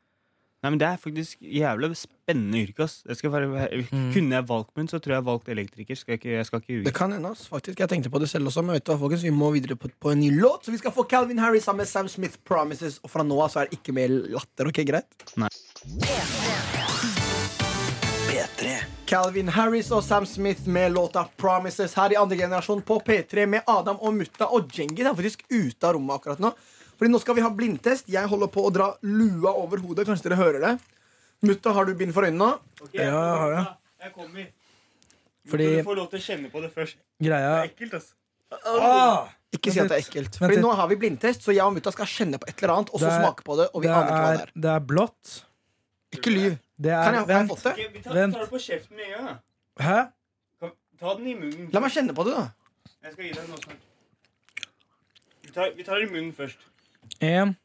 D: Nei, men Det er faktisk jævla spennende yrke. ass jeg skal være, Kunne jeg valgt min, så tror jeg jeg valgte elektriker. Skal jeg ikke, jeg skal ikke
C: Det
D: ljuge.
C: kan hende, ass. faktisk. Jeg tenkte på det selv også. Men vet du hva, folkens, vi må videre på, på en ny låt. Så vi skal få Calvin Harris sammen med Sam Smith Promises. Og fra nå av så er det ikke mer latter. ok, greit?
D: Nei.
E: P3
C: Calvin Harris og Sam Smith med låta Promises her i andre generasjon på P3 med Adam og Mutta. Og Djengis er faktisk ute av rommet akkurat nå. Fordi nå skal vi ha blindtest. Jeg holder på å dra lua over hodet. Kanskje dere hører det? Mutta, har du bind for øynene nå?
B: Ja, har jeg.
D: Jeg kommer.
B: Fordi
D: får lov til å kjenne på det først.
B: greia
D: Ekkelt, ass.
C: Ikke si at det er ekkelt. Fordi
B: litt.
C: nå har vi blindtest, så jeg og Mutta skal kjenne på et eller annet, og så
B: Det er-
C: smake på det. Og vi
B: det,
C: aner ikke hva det
B: er,
C: er.
B: det er blått.
C: Ikke lyv.
B: Det
C: Kan
B: er
C: jeg, har jeg
B: Vent.
C: fått det?
D: vi
B: tar- Vent. tar
D: det på kjeften med en gang.
B: Hæ?
D: Ta den i munnen.
C: La meg kjenne på det, da.
D: Jeg skal gi deg noe snart. Vi tar, det i munnen først.
B: En,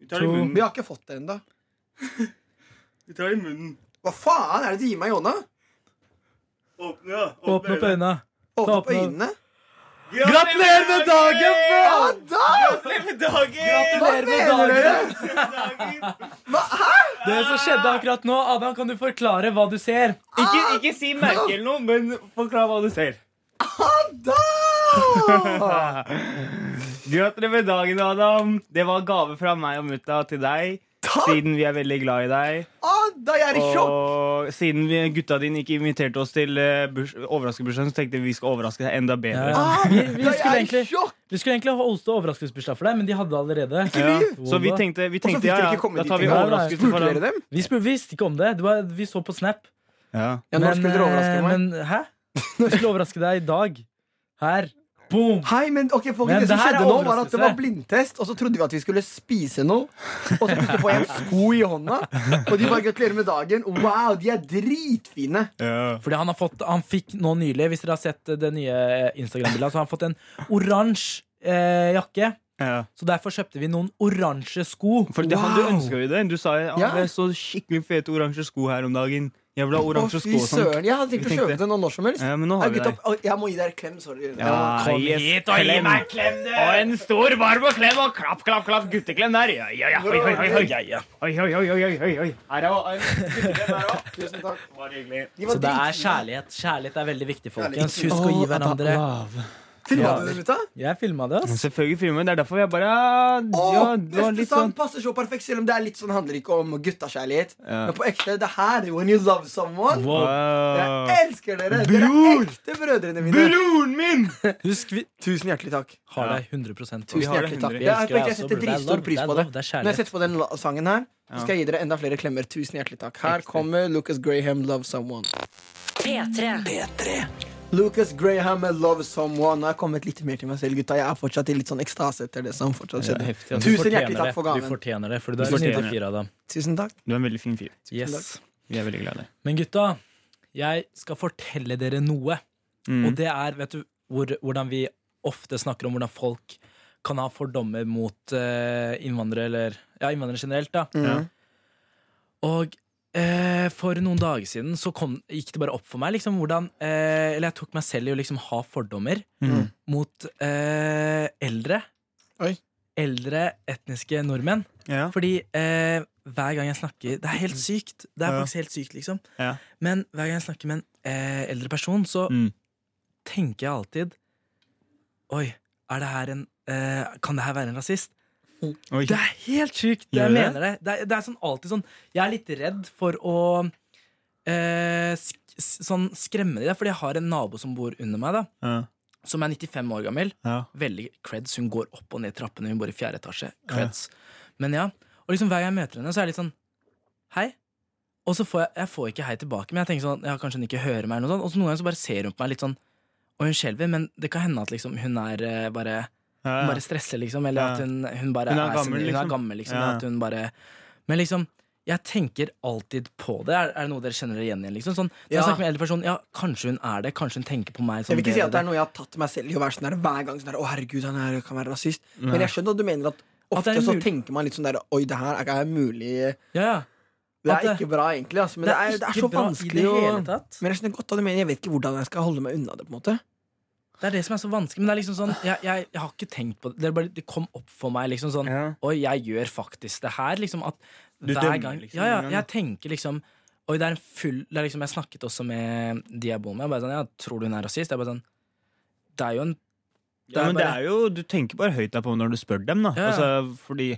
D: Vi
B: det i To. munnen.
C: Vi har ikke fått det ennå.
D: Vi tar det i munnen.
C: Hva faen er det du gir meg i hånda?
D: Åpne, da.
B: åpne opp øynene.
C: Åpne
B: Ta
C: opp
B: opp nå.
C: øynene.
D: Gratulerer med dagen, bro!
C: Hva da?
D: Gratulerer med dagen!
C: Hva mener dere?
B: Det som skjedde akkurat nå, Adam, kan du forklare hva du ser?
D: Ikke, ikke si merke eller noe, men forklar hva du ser.
C: Da!
B: *laughs*
D: Gratulerer med dagen, Adam. Det var gave fra meg og mutta til deg. Siden vi er veldig glad i deg.
C: Da, jeg er i sjokk.
D: Og siden vi, gutta dine ikke inviterte oss til eh, burs- overraskelsesbursdagen, så tenkte vi vi skal overraske deg enda bedre.
B: Ja.
C: Ah,
B: Vi, vi,
C: Da, jeg
B: skulle
C: er i
B: egentlig,
C: sjokk.
B: vi skulle egentlig holdt overraskelsesbursdag for deg, men de hadde allerede.
D: Ja. Så vi tenkte, vi
C: Og så
D: tenkte ja,
C: fikk dere
D: ja,
C: ikke komme
D: da
C: dit
D: tar vi
B: engang.
D: overraskelse
C: Spurte
D: for
C: dere
D: ham.
C: dem?
B: Vi, spur, vi visste ikke om det. Det var, vi så på Snap.
D: Ja.
C: Ja, når skulle dere overraske
B: eh,
C: meg?
B: Men hæ? Når skulle jeg overraske deg i dag? Her. Boom!
C: Hei, men ok,
B: Men
C: folkens, Det som
B: det her er
C: skjedde nå, var at det var
B: overraskelse.
C: blindtest, og så trodde vi at vi skulle spise noe. Og så plutselig får jeg en sko i hånda, og de bare gratulerer med dagen. Wow, de er dritfine.
B: Fordi han har fått Han fikk nå nylig, hvis dere har sett det nye Instagram-bildet, så har han fått en oransje eh, jakke.
D: Ja.
B: Så derfor kjøpte vi noen oransje sko.
D: For det, han, du
C: Wow.
D: ønska jo det. Du sa ja.
C: Ja.
D: det er så skikkelig fete oransje sko her om dagen. Jeg vil ha
C: Å,
D: oransje sko
C: fy
D: og sånn.
C: søren. Jeg hadde tenkt å
D: Vi tenkte-
C: kjøpe den nå når som helst.
D: Ja, men nå
C: Nei,
D: har vi
C: gutta,
D: deg.
C: å, jeg må gi deg et klem, sorry.
D: Ja,
B: Kom
D: yes,
B: hit og gi
D: klem.
B: meg
A: klem, du! Og en stor, varm og klem, og klapp, klapp, klapp, gutteklem der. Ja, ja, ja. Oi, oi, oi, oi. Oi, oi, oi, oi, oi, oi. Her er også en gutteklem der
D: *laughs*
A: også.
C: Tusen takk.
A: Bare hyggelig.
C: De var
B: Så det er
C: dritfine.
B: kjærlighet. Kjærlighet er veldig viktig, folkens.
C: Kjærlighet.
B: Husk å gi hverandre.
C: Filma
B: Ja.
C: du det, gutta?
B: Jeg filma det, ass.
D: Selvfølgelig filmer. Det er derfor jeg bare ja,
C: Å,
D: ja, det var
C: neste
D: litt
C: sang
D: sånn
C: passer så perfekt, selv om det er litt sånn handler ikke om guttakjærlighet.
D: Ja.
C: Men på ekte, det her When you love someone.
D: Wow.
C: Jeg elsker dere! Dere er
D: Bror!
C: ekte brødrene mine.
D: Broren min!
C: Husk vi Tusen hjertelig takk.
B: Har deg 100 på.
C: Tusen
D: har det
C: hjertelig takk.
D: hundre.
C: Jeg, jeg,
B: elsker
C: jeg
B: deg også,
C: setter
B: bror. Det er
C: dritstor
B: love,
C: pris
B: det er
C: på det.
B: love, det
C: Når jeg
B: er kjærlighet.
C: setter på den la- sangen her, så skal jeg gi dere enda flere klemmer. Tusen hjertelig takk. Her kommer Lucas Graham, 'Love Someone'.
F: P3.
C: Lucas Graham med 'Love Someone'. Nå har jeg kommet litt mer til meg selv, gutta. Jeg er fortsatt i litt sånn ekstase etter det som fortsatt skjedde.
B: Ja, du
C: Tusen
B: fortjener
C: hjertelig takk
B: det.
C: for
B: Du
C: gaven.
B: fortjener det, for det er
D: fortjener
B: snittet
D: det.
B: fire av dem.
C: Tusen takk.
D: Du er en veldig fin fyr.
B: Yes.
D: Vi er veldig glad i deg.
B: Men gutta, jeg skal fortelle dere noe.
D: Mm.
B: Og det er, vet du, hvor, hvordan vi ofte snakker om hvordan folk kan ha fordommer mot eh, innvandrere, eller ja, innvandrere generelt, da.
C: Mm.
B: Og eh, for noen dager siden så kom, gikk det bare opp for meg liksom, hvordan eh, Eller jeg tok meg selv i å liksom ha fordommer
D: Mm.
B: mot eh, eldre.
C: Oi.
B: Eldre etniske nordmenn.
D: Ja.
B: Fordi eh, hver gang jeg snakker Det er helt sykt. Det er
D: Ja.
B: faktisk helt sykt, liksom.
D: Ja.
B: Men hver gang jeg snakker med en eh, eldre person, så
D: Mm.
B: tenker jeg alltid Oi, er det her en eh, Kan det her være en rasist?
D: Oi.
B: Det er helt sykt!
D: Gjør det?
B: Jeg mener det. Det er, det er sånn alltid sånn Jeg er litt redd for å eh, sk s- sånn skremme de der, fordi jeg har en nabo som bor under meg, da.
D: Ja.
B: Som er 95 år gammel.
D: Ja.
B: Veldig creds. Hun går opp og ned trappene. Hun bor i fjerde etasje. Creds. Men ja, og liksom hver gang jeg møter henne, så er jeg litt sånn Hei. Og så får jeg, jeg får ikke hei tilbake, men jeg tenker sånn, ja, kanskje hun ikke hører meg. eller noe sånt. Og så noen ganger så bare ser hun på meg litt sånn, og hun skjelver. Men det kan hende at liksom hun er eh, bare
D: Ja.
B: hun bare
C: sånn.
B: stresser, liksom. Eller
D: Ja.
B: at hun, hun bare
D: Hun
B: er,
D: er
B: så
D: gammel,
B: mye- Hun
D: liksom.
B: er gammel, liksom.
D: Ja.
B: At hun bare Men liksom, jeg tenker alltid på det. Er, er det noe dere kjenner dere igjen i? Liksom? Sånn, når
C: Ja.
B: jeg snakker med en eldre person, ja, kanskje hun er det. Kanskje hun tenker på meg.
C: Jeg
B: Som
C: vil ikke si at det er noe jeg har tatt meg selv i å være sånn der hver gang. sånn der, Å herregud, han her kan være rasist Men jeg skjønner at du mener at
B: At
C: ofte
B: det er
C: så
B: mulig.
C: tenker man litt sånn der Oi, det her er ikke mulig.
B: ja, ja.
C: Det
B: At
C: er
B: det-
C: ikke bra, egentlig. Altså, men det er, det er
B: ikke
C: så
B: bra i
C: vanskelig
B: det
C: å
B: hele tatt.
C: Men jeg skjønner godt hva du mener. Jeg vet ikke hvordan jeg skal holde meg unna det. på en måte
B: Det er det som er så vanskelig. Men det er liksom sånn, jeg, jeg, jeg har ikke tenkt på det. Det, er bare, det kom opp for meg liksom sånn
D: Ja.
B: Oi, jeg gjør faktisk det her. Liksom at
D: Du
B: hver
D: dømmer
B: gang
D: liksom
B: Ja, ja,
D: ingen, da.
B: jeg tenker liksom Oi, det er en full det er liksom, Jeg snakket også med de jeg bor med. Jeg bare sånn, ja, tror du hun er rasist? Jeg bare sånn Det er jo en det
D: Ja,
B: er
D: men
B: bare-
D: det er jo, Du tenker bare høyt deg på når du spør dem. da
B: Ja, ja.
D: altså, fordi,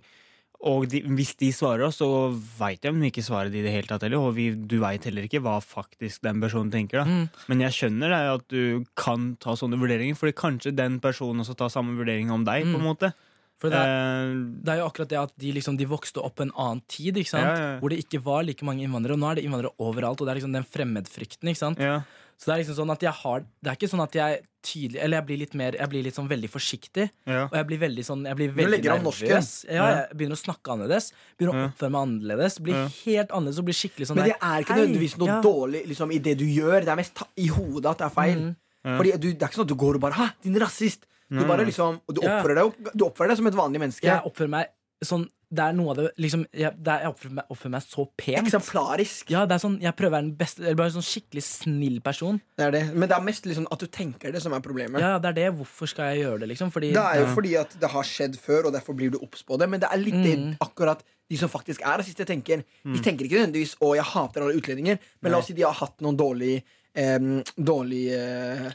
D: Og de, hvis de svarer oss, så veit jeg om de ikke svarer de i det hele tatt heller. Og vi, du veit heller ikke hva faktisk den personen tenker. da
B: Mm.
D: Men jeg skjønner det, at du kan ta sånne vurderinger, Fordi kanskje den personen også tar samme vurdering om deg. på en måte
B: For Mm. det er,
D: Eh,
B: det er jo akkurat det at de, liksom, de vokste opp en annen tid, ikke sant?
D: Ja, ja, ja.
B: hvor det ikke var like mange innvandrere. Og nå er det innvandrere overalt, og det er liksom den fremmedfrykten. ikke sant?
D: Eh, ja.
B: Så det er liksom sånn at jeg har Det er ikke sånn at jeg tydelig Eller jeg blir litt mer Jeg blir litt sånn veldig forsiktig.
D: Ja.
B: Og jeg blir veldig sånn Jeg blir veldig
C: legger om norsken.
B: nervøs. Ja, jeg begynner å snakke annerledes. Begynner å
D: Ja.
B: oppføre meg annerledes. Blir
D: Ja.
B: helt annerledes og blir skikkelig sånn
C: Men det
B: der,
C: er ikke
B: hei,
C: nødvendigvis noe
B: ja.
C: dårlig liksom, i det du gjør. Det er mest ta i hodet at det er feil.
B: Mm.
C: Fordi du, Det er ikke sånn at du går og bare 'Hæ, din rasist'. Du bare liksom og Du
B: Ja.
C: oppfører deg, opp- du oppfører deg som et vanlig menneske.
B: Jeg oppfører meg sånn Det er noe av det liksom Jeg, det er, jeg oppfører, meg, oppfører meg så pent.
C: Eksemplarisk.
B: Ja, det er sånn Jeg prøver å være den beste Eller bare en sånn skikkelig snill person.
C: Det er det. Men det er mest liksom at du tenker det, som er problemet.
B: Ja, det er det. Hvorfor skal jeg gjøre det, liksom? Fordi
C: Det er jo fordi at det har skjedd før, og derfor blir du obs på det. Men det er litt det akkurat de som faktisk er rasister, tenker. De tenker ikke nødvendigvis 'Å, jeg hater alle utlendinger', men la oss si de har hatt noen dårlige em, Dårlige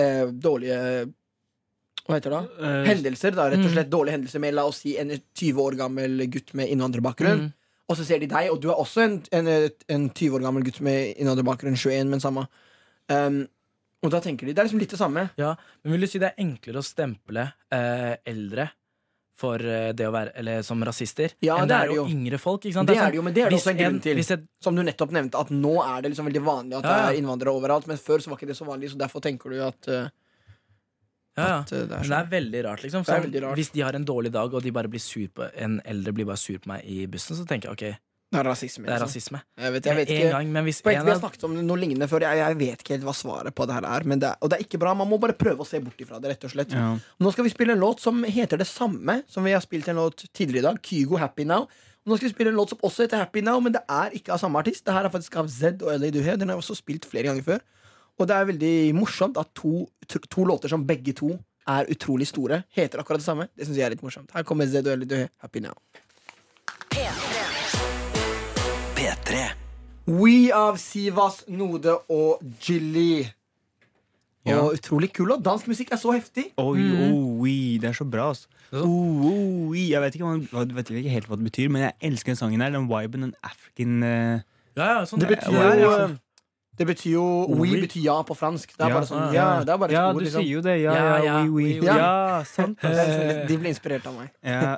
C: eh, Dårlige Hva heter det? da? hendelser, da, rett og slett. Dårlige hendelser med, la oss si, en 20 år gammel gutt med
B: mm.
C: innvandrerbakgrunn. Og så ser de deg, og du er også en, en, en 20 år gammel gutt med innvandrerbakgrunn. 21, men samme. Em, og da tenker de Det er liksom litt det samme.
B: Ja, men vil du si det er enklere å stemple eh, eldre for eh, det å være eller, som rasister
C: Ja,
B: enn
C: det
B: det
C: er
B: er
C: det jo.
B: å yngre folk? Ikke sant?
C: Det
B: sånn,
C: er det jo, men det er det
B: hvis
C: også en grunn til.
B: Hvis et,
C: Som du nettopp nevnte, at nå er det liksom veldig vanlig at det
B: Ja, ja.
C: er innvandrere overalt. Men før så var ikke det så vanlig, så derfor tenker du at eh,
B: ja, ja.
C: At, eh, det er
B: Men det er veldig rart, liksom.
C: Det er
B: Sånn,
C: veldig rart.
B: Hvis de har en dårlig dag, og de bare blir sur på en eldre blir bare sur på meg i bussen, så tenker jeg ok,
C: Det er rasisme.
B: Det er
C: liksom.
B: rasisme.
C: Jeg vet, jeg
B: Med
C: vet
B: en
C: ikke
B: gang, men hvis
C: på ekte,
B: en
C: Vi har
B: av
C: snakket om noe lignende før. Jeg, jeg vet ikke helt hva svaret på det her er. Men det er. Og det er ikke bra. Man må bare prøve å se bort ifra det. rett og slett
D: Ja.
C: Nå skal vi spille en låt som heter det samme som vi har spilt en låt tidligere i dag. Kygo Happy Now. Og nå skal vi spille en låt som også heter Happy Now, men det er ikke av samme artist. Det her er faktisk av Zed og LA Duhe. Den har jeg også spilt flere ganger før. Og det er veldig morsomt at to, to, to låter som begge to er utrolig store, heter akkurat det samme. Det syns jeg er litt morsomt. Her kommer Zed og LA Duhe, Happy Now.
E: P3
C: We av Sivas, Node og Jilly.
D: Ja.
C: Og utrolig kul låt. Dansk musikk er så heftig.
D: Oi,
B: Mm.
D: oi, det er så bra, altså. Oh, oi, jeg vet ikke, hva- hva- vet ikke helt hva det betyr, men jeg elsker den sangen her. Den viben, den African eh,
B: ja, ja, sånn,
C: Det betyr
B: ja,
C: jo
B: ja.
C: Det betyr jo We
B: Oui.
C: betyr ja på fransk. Det er
D: Ja.
C: bare sånn
B: Ah,
C: Ja,
B: ja.
C: det er bare et
D: Ja,
C: ord,
D: du
C: liksom.
D: sier jo det.
B: Ja,
D: Ja,
B: ja,
D: ja, oui, oui.
C: oui.
D: Ja, sant.
C: Det er liksom litt- De ble inspirert av meg.
D: *laughs* Ja.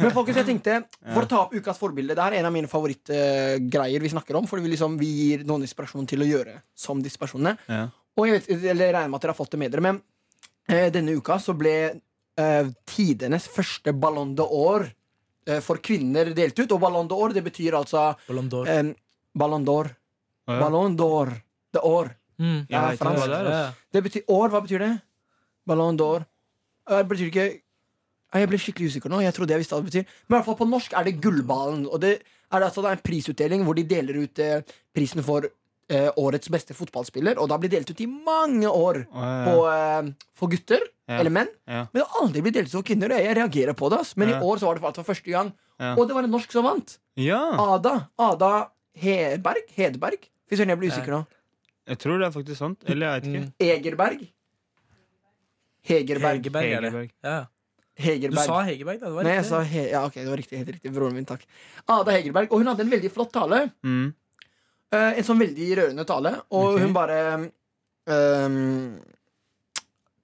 C: Men folkens, jeg tenkte For å ta opp ukas forbilde. Det er en av mine favorittgreier vi snakker om. Fordi vi, liksom, vi gir noen inspirasjon til å gjøre som disse personene.
D: Ja.
C: Og jeg, vet, eller jeg regner med at dere har fått det med dere, men eh, denne uka så ble eh, tidenes første Ballon d'Or eh, for kvinner delt ut. Og Ballon d'Or, det betyr altså
B: Ballon d'Or.
C: eh, Ballon d'Or.
D: Ja.
C: Ballon d'Or. Det år.
B: Mm.
C: Det er
D: Jeg vet ikke
C: fransk.
D: hva det er, altså.
C: Det betyr år. Hva betyr det? Ballon d'Or. Eh, Det betyr ikke Nei, Jeg ble skikkelig usikker nå. Jeg trodde jeg visste hva det betyr. Men i hvert fall på norsk er det Gullballen. Og det er det altså da en prisutdeling hvor de deler ut eh, prisen for eh, årets beste fotballspiller. Og da blir det delt ut i mange år
D: Å,
C: på, eh, for gutter
D: Ja.
C: eller menn.
D: Ja.
C: Men det har aldri blitt delt ut for kvinner. og Jeg reagerer på det. ass. Men
D: Ja.
C: i år så var det for- for første gang.
D: Ja.
C: Og det var en norsk som vant.
D: Ja,
C: Ada. Ada Heberg. Hedberg? Fy søren, jeg blir usikker nå.
D: jeg tror det er faktisk sant. Eller jeg vet ikke.
B: Mm.
C: Egerberg. Eh, Hegerberg.
B: Hegerberg er det.
D: Hegerberg.
B: Ja. Du
C: Hegerberg.
B: sa Hegerberg, da. Det var
C: Nei, jeg
B: riktig.
C: sa he ja, ok, det var riktig, helt riktig. Broren min, takk. Ada Hegerberg. Og hun hadde en veldig flott tale.
D: Mm.
C: Eh, en sånn veldig rørende tale. Og
D: Ok.
C: hun bare ehm,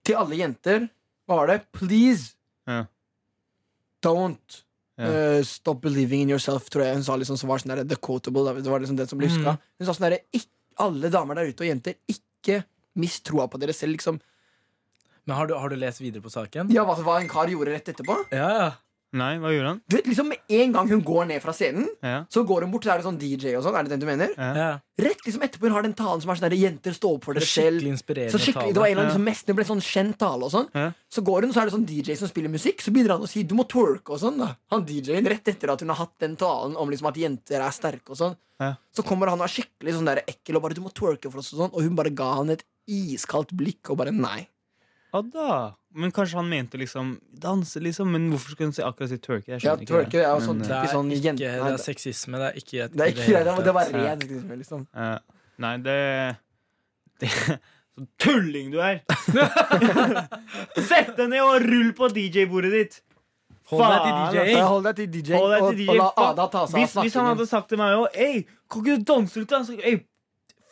C: Til alle jenter, hva var det? Please
D: Ja.
C: don't
D: Ja.
C: eh, stop believing in yourself, tror jeg hun sa. liksom Som var sånn der, the quotable, da, det var liksom den som ble
B: Mm.
C: huska. Hun sa sånn derre ikk- Alle damer der ute og jenter, ikke mist troa på dere selv. liksom
B: Men har du, har du lest videre på saken?
C: Ja, hva, hva en kar gjorde rett etterpå?
B: Ja, ja.
D: Nei, hva gjorde han?
C: Du vet, liksom Med en gang hun går ned fra scenen,
D: Ja.
C: så går hun bort, så er det sånn DJ og sånn. Er det den du mener?
B: ja.
C: Rett liksom etterpå hun har den talen som er sånn der, Jenter, stå opp for dere selv.
B: Skikkelig inspirerende
C: Så skikkelig, Det var
B: tale.
C: en av de
D: Ja.
C: som mest, det ble sånn kjent tale og sånn.
D: Ja.
C: Så går hun, så er det sånn DJ som spiller musikk, så begynner han å si 'du må twerke' og sånn. da Han DJ-en rett etter at hun har hatt den talen om liksom at jenter er sterke og sånn.
D: Ja.
C: Så kommer han og er skikkelig sånn der ekkel og bare 'du må twerke for oss' og sånn. Og hun bare ga han et iskaldt blikk og bare nei.
D: Ja da. Men kanskje han mente liksom danse, liksom. Men hvorfor skulle han si akkurat si twerke? Jeg
C: Ja,
D: skjønner ikke
C: twerke er jo
D: Men,
C: sånn
B: Det
C: typisk
B: er
C: sånn
B: ikke
C: jente...
B: det
C: Nei,
B: er sexisme. Det er ikke et
C: det er ikke
B: hele
C: det, det var
B: tatt.
C: ren sexisme, liksom.
D: eh, Nei, det, det *laughs* Så tulling du
C: *laughs*
D: er! Sett deg ned og rull på DJ-bordet ditt!
B: Hold deg til
D: Faen, altså.
B: DJ.
C: Ja, altså. hold deg til DJ,
D: Hold deg
C: og,
D: til DJ.
C: og la
D: Fuck.
C: Ada ta seg av
D: Hvis, hvis han
C: snakkingen.
D: hadde sagt til meg òg Ei, kan ikke du danse litt? da?» Så, «Ei,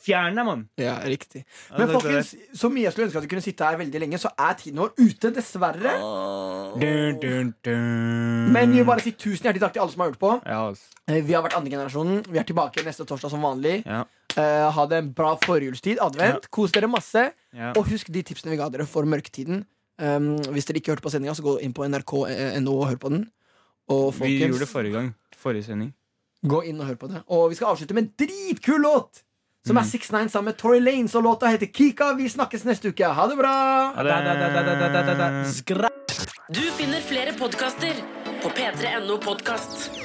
D: Fjern deg, mann!
C: Ja, riktig.
D: Ja,
C: Men
D: det er
C: folkens, så mye jeg skulle ønske at vi kunne sitte her veldig lenge, så er tiden vår ute, dessverre.
D: Ah. Dun, dun, dun.
C: Men vi vil bare si tusen hjertelig takk til alle som har hørt på.
D: Ja, altså.
C: Eh, Vi har vært andregenerasjonen. Vi er tilbake neste torsdag som vanlig.
D: Ja.
C: Eh, ha det en bra forjulstid. Advent. Kos dere masse.
D: Ja.
C: Og husk de tipsene vi ga dere for mørketiden. Um, hvis dere ikke hørte på sendinga, så gå inn på nrk.no og hør på den. Og
D: Vi gjorde det
C: folkens,
D: forrige gang. Forrige sending.
C: gå inn og hør på det. Og vi skal avslutte med en dritkul låt! Som er 6ix9ine sammen med Tory Lanes, og låta heter Kika. Vi snakkes neste uke. Ha det bra!
B: Da, da, da, da, da, da, da, da. Skra-
H: Du finner flere podkaster på p3.no podkast.